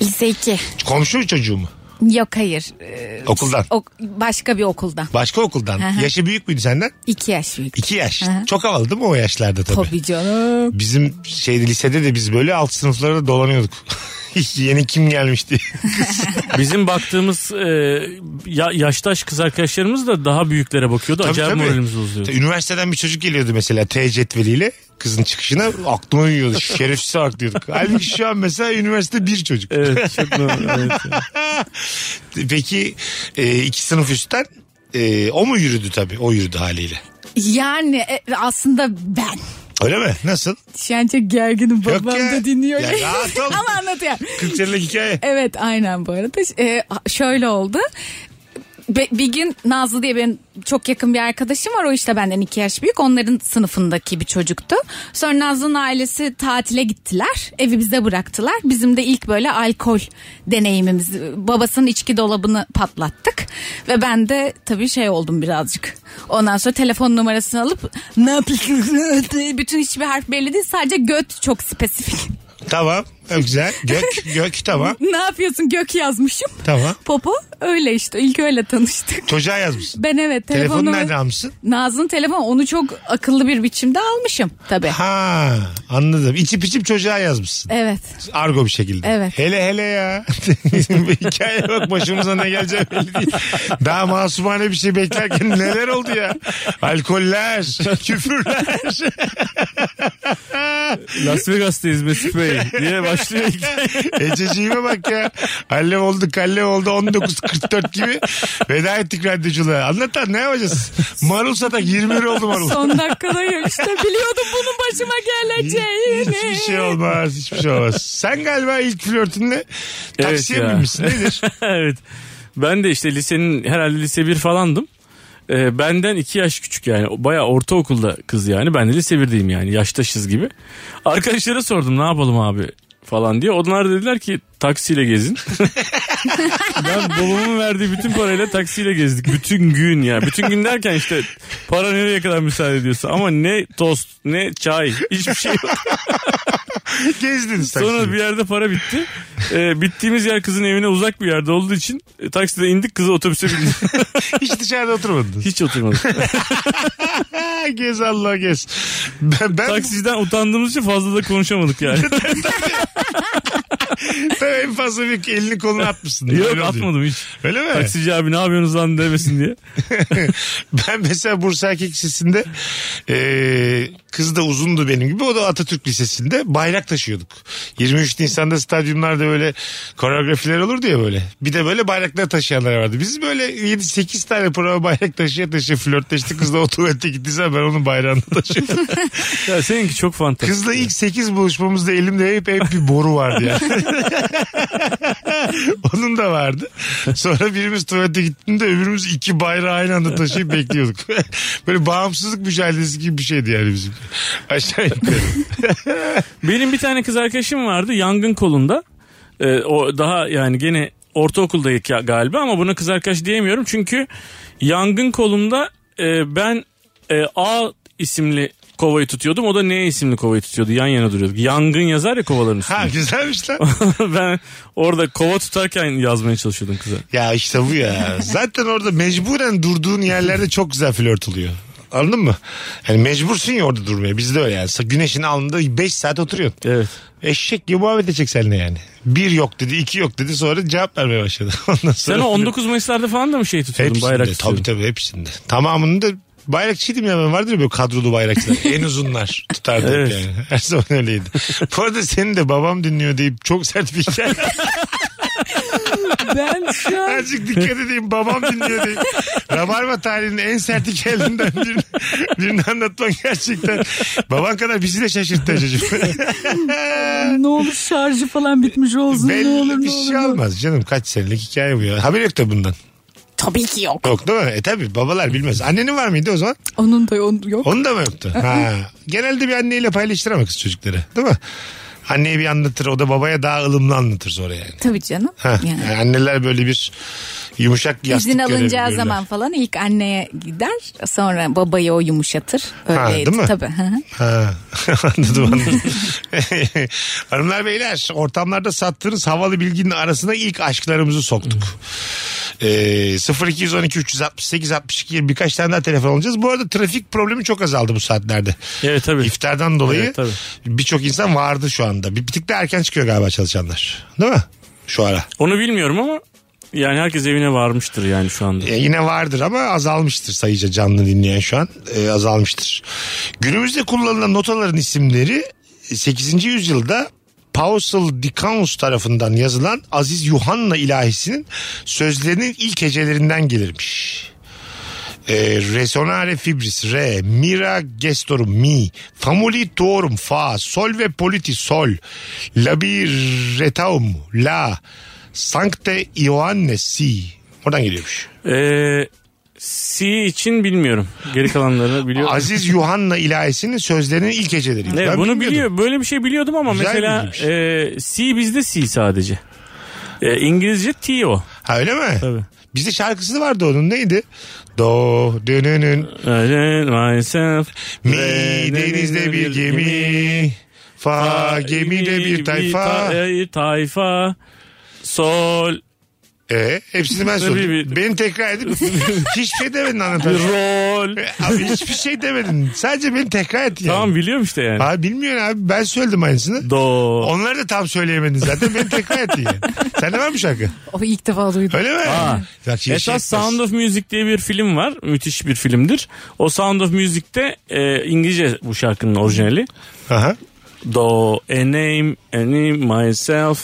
Lise 2.
Komşu çocuğu mu?
Yok hayır. Ee,
Okuldan.
ok- başka bir okuldan.
Başka okuldan.
Hı hı.
Yaşı büyük müydü senden?
2 yaş büyük.
2 yaş.
Hı hı.
Çok havalı değil mi o yaşlarda tabii?
Tabii canım.
Bizim şeyde lisede de biz böyle alt sınıflarda dolanıyorduk. Yeni kim gelmişti?
Bizim baktığımız e, ya- yaştaş kız arkadaşlarımız da daha büyüklere bakıyordu. Acayip moralimiz bozuyordu.
Üniversiteden bir çocuk geliyordu mesela T cetveliyle kızın çıkışına aklıma uyuyordu. Şerefsiz salak diyorduk. Halbuki şu an mesela üniversite bir çocuk.
Evet, çok normal, evet.
Peki e, iki sınıf üstten e, o mu yürüdü tabii? O yürüdü haliyle.
Yani e, aslında ben.
Öyle mi? Nasıl?
Şu an çok gerginim babam
ya.
da dinliyor.
Ya rahat ol.
Ama anlatıyorum.
40 senelik hikaye.
Evet aynen bu arada. Ee, şöyle oldu. Be- bir gün Nazlı diye benim çok yakın bir arkadaşım var. O işte benden iki yaş büyük. Onların sınıfındaki bir çocuktu. Sonra Nazlı'nın ailesi tatile gittiler. Evi bize bıraktılar. Bizim de ilk böyle alkol deneyimimiz. Babasının içki dolabını patlattık. Ve ben de tabii şey oldum birazcık. Ondan sonra telefon numarasını alıp ne yapıyorsun? Bütün hiçbir harf belli değil. Sadece göt çok spesifik.
Tamam. Güzel. Gök, gök tamam.
ne yapıyorsun gök yazmışım.
Tamam.
Popo öyle işte ilk öyle tanıştık.
Çocuğa yazmışsın.
Ben evet
Telefonu
telefonunu-
nereden almışsın?
Naz'ın telefonu onu çok akıllı bir biçimde almışım tabii.
Ha anladım. İçip içip çocuğa yazmışsın.
Evet.
Argo bir şekilde.
Evet.
Hele hele ya. Hikaye bak başımıza ne geleceği belli değil. Daha masumane bir şey beklerken neler oldu ya. Alkoller, küfürler.
Las Vegas'tayız Mesut Bey diye başlıyor hikaye.
Ececiğime bak ya. Hallem oldu kallem oldu 19.44 gibi. Veda ettik radyoculuğa. Anlatan ne yapacağız? Marul satak 20 lira oldu marul.
Son dakikada ya işte biliyordum bunun başıma geleceğini.
Hiçbir şey olmaz. Hiçbir şey olmaz. Sen galiba ilk flörtünle
Evet
taksiye
ya.
binmişsin. Nedir?
evet. Ben de işte lisenin herhalde lise 1 falandım. Ee, benden 2 yaş küçük yani. Baya ortaokulda kız yani. Ben de lise 1'deyim yani. Yaştaşız gibi. Arkadaşlara sordum ne yapalım abi falan diye. Onlar dediler ki taksiyle gezin. ben babamın verdiği bütün parayla taksiyle gezdik. Bütün gün ya. Bütün gün derken işte para nereye kadar müsaade ediyorsa. Ama ne tost ne çay hiçbir şey yok.
Gezdiniz taksiye.
Sonra bir yerde para bitti. Ee, bittiğimiz yer kızın evine uzak bir yerde olduğu için e, takside indik kızı otobüse bindik.
Hiç dışarıda oturmadınız.
Hiç oturmadık.
Ha, gez Allah gez. Ben, ben
Taksiciden utandığımız için fazla da konuşamadık yani.
Tabii en fazla bir elini kolunu atmışsın.
Yok
Öyle oluyor.
atmadım hiç.
Öyle mi?
Taksici abi ne yapıyorsunuz lan demesin diye.
ben mesela Bursa Erkek Lisesi'nde e, kız da uzundu benim gibi. O da Atatürk Lisesi'nde bayrak taşıyorduk. 23 Nisan'da stadyumlarda böyle koreografiler olurdu ya böyle. Bir de böyle bayraklar taşıyanlar vardı. Biz böyle 7-8 tane prova bayrak taşıya taşıya flörtleştik. Kızla o tuvalete gittiysen ben onun bayrağını taşıyordum.
Ya seninki çok fantastik.
Kızla ilk 8 buluşmamızda elimde hep hep bir boru vardı ya. Onun da vardı. Sonra birimiz tuvalete gittiğinde öbürümüz iki bayrağı aynı anda taşıyıp bekliyorduk. Böyle bağımsızlık mücadelesi gibi bir şeydi yani bizim. Aşağı yukarı.
Benim bir tane kız arkadaşım vardı yangın kolunda. Ee, o daha yani gene ortaokuldaydık ya galiba ama buna kız arkadaş diyemiyorum. Çünkü yangın kolunda e, ben e, A isimli kovayı tutuyordum. O da ne isimli kovayı tutuyordu. Yan yana duruyorduk. Yangın yazar ya kovaların üstüne.
Ha güzelmiş lan.
ben orada kova tutarken yazmaya çalışıyordum kıza.
ya işte bu ya. Zaten orada mecburen durduğun yerlerde çok güzel flört oluyor. Anladın mı? Yani mecbursun ya orada durmaya. Bizde öyle yani. Güneşin alnında 5 saat oturuyorsun.
Evet.
Eşek gibi muhabbet edecek seninle yani. Bir yok dedi, iki yok dedi. Sonra cevap vermeye başladı.
Sen
Ondan sonra
o 19 Mayıs'larda falan da mı şey tutuyordun
Hepsinde
bayrak
tabii
tutuyordun?
tabii hepsinde. Tamamını da bayrakçıydım ya ben vardır ya böyle kadrolu bayrakçılar. en uzunlar tutardık
Evet.
yani. Her zaman öyleydi. Bu arada senin de babam dinliyor deyip çok sert bir hikaye.
Ben şu an...
Azıcık dikkat edeyim babam dinliyor deyip. Rabarba tarihinin en sert hikayelerinden birini, birini anlatman gerçekten. Baban kadar bizi de şaşırttı çocuk.
ne olur şarjı falan bitmiş olsun.
Belli
ne olur
bir
ne olur.
şey olmaz canım kaç senelik hikaye bu ya. Haber yok da bundan.
Tabii ki yok.
Yok değil mi? E tabi babalar bilmez. Annenin var mıydı o zaman?
Onun da onun, yok.
Onun da mı yoktu? Ha. Genelde bir anneyle paylaştıramaz çocukları değil mi? Anneye bir anlatır o da babaya daha ılımlı anlatır sonra yani.
Tabii canım.
Ha.
Yani.
Yani Anneler böyle bir yumuşak yastık
İzin
görevi görürler.
alınacağı zaman falan ilk anneye gider sonra babayı o yumuşatır.
Ha,
Öyleydi
değil mi?
tabii. hı hı.
Ha. anladım anladım. Hanımlar beyler ortamlarda sattığınız havalı bilginin arasına ilk aşklarımızı soktuk.
Hmm.
Ee, 0212 368 62 'ye birkaç tane daha telefon alacağız. Bu arada trafik problemi çok azaldı bu saatlerde.
Evet tabii.
İftardan dolayı
Evet, tabii.
birçok insan vardı şu anda. Bir, bir tık da erken çıkıyor galiba çalışanlar. Değil mi? Şu ara.
Onu bilmiyorum ama yani herkes evine varmıştır yani şu anda.
E, yine vardır ama azalmıştır sayıca canlı dinleyen şu an. E, azalmıştır. Günümüzde kullanılan notaların isimleri 8. yüzyılda Pausal Dikanos tarafından yazılan Aziz Yuhanna ilahisinin sözlerinin ilk hecelerinden gelirmiş. E, resonare fibris re, mira gestorum mi, famuli tuorum fa, solve politi sol, labi retaum la, sancte Ioanne si. Oradan geliyormuş.
Ee, C için bilmiyorum. Geri kalanlarını biliyorum.
Aziz Yuhanna ilahisinin sözlerinin ilk heceleri.
Evet,
Ben
bunu
bilmiyordum.
biliyor. Böyle bir şey biliyordum ama
Güzel
mesela e, C bizde C sadece. E, İngilizce T o.
Ha öyle mi?
Tabii.
Bizde şarkısı vardı onun neydi? Do dönünün
E, Öyle myself.
mi
Ve-
denizde bir gemi fa gemide bir tayfa.
bir e, tayfa. Sol.
E, hepsini ben söyledim.
bir-
Beni tekrar edip hiçbir şey demedin anlatan.
Rol.
Abi hiçbir şey demedin. Sadece beni tekrar ettin. yani.
Tamam biliyorum işte yani.
Abi bilmiyorsun abi ben söyledim aynısını.
Do.
Onları da tam söyleyemedin zaten beni tekrar ettin yani. Sen de var mı şarkı?
O ilk defa duydum.
Öyle mi?
Ha.
Bak, şey-
Esas Sound of Music diye bir film var. Müthiş bir filmdir. O Sound of Music'te e, İngilizce bu şarkının orijinali.
Aha.
Do, a name, a name, myself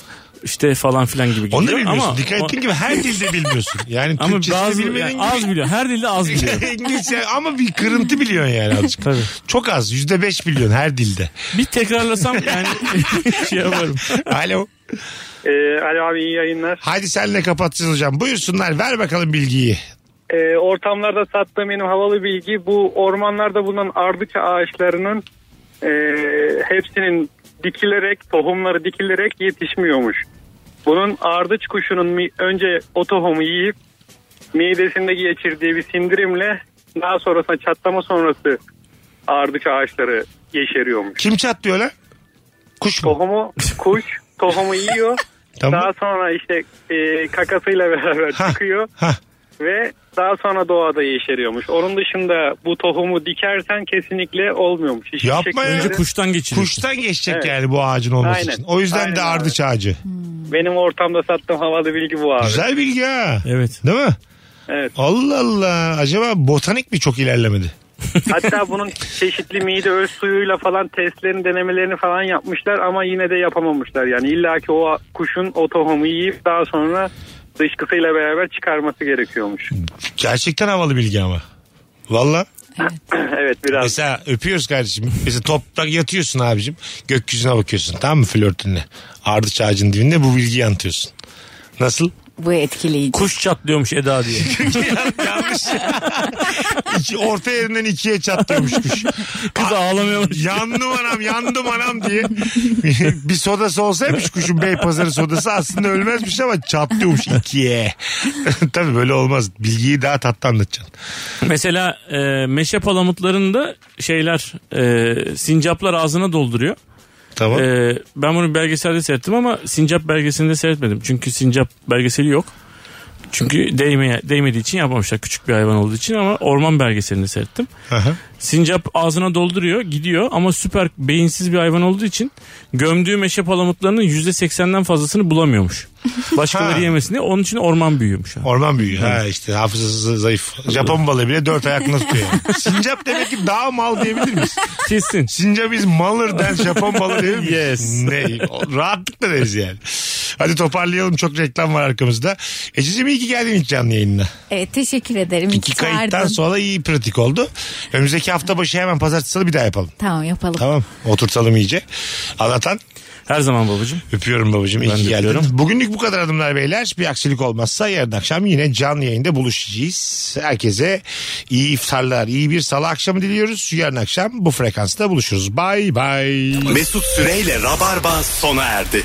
işte falan filan gibi gidiyor.
Onu da bilmiyorsun.
Ama,
Dikkat ettiğin gibi her dilde bilmiyorsun. Yani
Ama
Türkçesi
bazı
bilmediğin
yani az biliyor. Her dilde az
gibi.
biliyor.
İngilizce ama bir kırıntı biliyorsun yani azıcık.
Tabii.
Çok az. Yüzde beş biliyorsun her dilde.
Bir tekrarlasam yani şey yaparım.
Alo.
Ee, Ali abi iyi yayınlar.
Hadi senle kapatacağız hocam. Buyursunlar ver bakalım bilgiyi.
Ee, ortamlarda sattığım benim havalı bilgi bu ormanlarda bulunan ardıç ağaçlarının e, hepsinin dikilerek tohumları dikilerek yetişmiyormuş. Bunun ardıç kuşunun mi- önce o tohumu yiyip midesinde geçirdiği bir sindirimle daha sonrasında çatlama sonrası ardıç ağaçları yeşeriyormuş.
Kim çatlıyor lan? Kuş mu?
Tohumu kuş tohumu yiyor.
Tamam.
Daha sonra işte e, kakasıyla beraber
Hah.
çıkıyor
Hah.
ve daha sonra doğada yeşeriyormuş. Onun dışında bu tohumu dikersen kesinlikle olmuyormuş. Hiçbir
Yapma ya.
Önce
şekilde
kuştan geçirin.
Kuştan geçecek
Evet.
yani bu ağacın olması
Aynen.
için. O yüzden de
Aynen
ardıç ağacı.
Benim ortamda sattığım havalı bilgi bu abi.
Güzel bilgi ha.
Evet.
Değil mi?
Evet.
Allah Allah. Acaba botanik mi çok ilerlemedi?
Hatta bunun çeşitli mide öz suyuyla falan testlerini denemelerini falan yapmışlar ama yine de yapamamışlar. Yani illa ki o kuşun o tohumu yiyip daha sonra dışkısıyla beraber çıkarması gerekiyormuş.
Gerçekten havalı bilgi ama. Valla.
evet biraz.
Mesela öpüyoruz kardeşim. Mesela toprak yatıyorsun abicim. Gökyüzüne bakıyorsun tamam mı flörtünle. Ardıç ağacının dibinde bu bilgiyi anlatıyorsun. Nasıl?
Bu etkileyici.
Kuş çatlıyormuş Eda diye.
İki, orta yerinden ikiye çatlıyormuş kuş. Kız ağlamıyormuş. Yandım anam yandım anam diye. bir sodası olsaymış kuşun bey pazarı sodası aslında ölmezmiş ama çatlıyormuş ikiye. Tabii böyle olmaz. Bilgiyi daha tatlı anlatacaksın.
Mesela e, meşe palamutlarında şeyler e, sincaplar ağzına dolduruyor.
Tamam.
E, ben bunu belgeselde seyrettim ama sincap belgeselinde seyretmedim. Çünkü sincap belgeseli yok. Çünkü değmeye, değmediği için yapmamışlar küçük bir hayvan olduğu için ama orman belgeselini seyrettim. Sincap ağzına dolduruyor gidiyor ama süper beyinsiz bir hayvan olduğu için gömdüğü meşe palamutlarının %80'den fazlasını bulamıyormuş. Başkaları
Ha.
yemesin diye onun için orman büyüyormuş.
Orman büyüyor. Ha işte hafızası zayıf. Japon balığı bile dört ayakla tutuyor. yani. Sincap demek ki daha mal diyebilir miyiz?
Kesin.
Sincap is malır den Japon balığı diyebilir miyiz? Ne? O- Rahatlıkla deriz yani. Hadi toparlayalım çok reklam var arkamızda. Ececiğim iyi ki geldin ilk canlı yayınına.
Evet teşekkür ederim.
İki
İyi ki çağırdın.
kayıttan sonra iyi pratik oldu. Önümüzdeki hafta başı hemen pazartesi salı bir daha yapalım.
Tamam yapalım.
Tamam oturtalım iyice. Anlatan.
Her zaman babacığım.
Öpüyorum babacığım. İyi
Ben
ki
de
geldin.
öpüyorum.
Bugünlük bu kadar adımlar beyler. Bir aksilik olmazsa yarın akşam yine canlı yayında buluşacağız. Herkese iyi iftarlar, iyi bir salı akşamı diliyoruz. Yarın akşam bu frekansta buluşuruz. Bay bay.
Mesut Süreyle Rabarba sona erdi.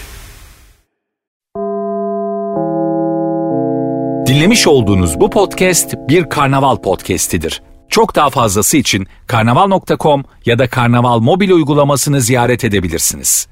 Dinlemiş olduğunuz bu podcast bir karnaval podcastidir. Çok daha fazlası için karnaval.com ya da karnaval mobil uygulamasını ziyaret edebilirsiniz.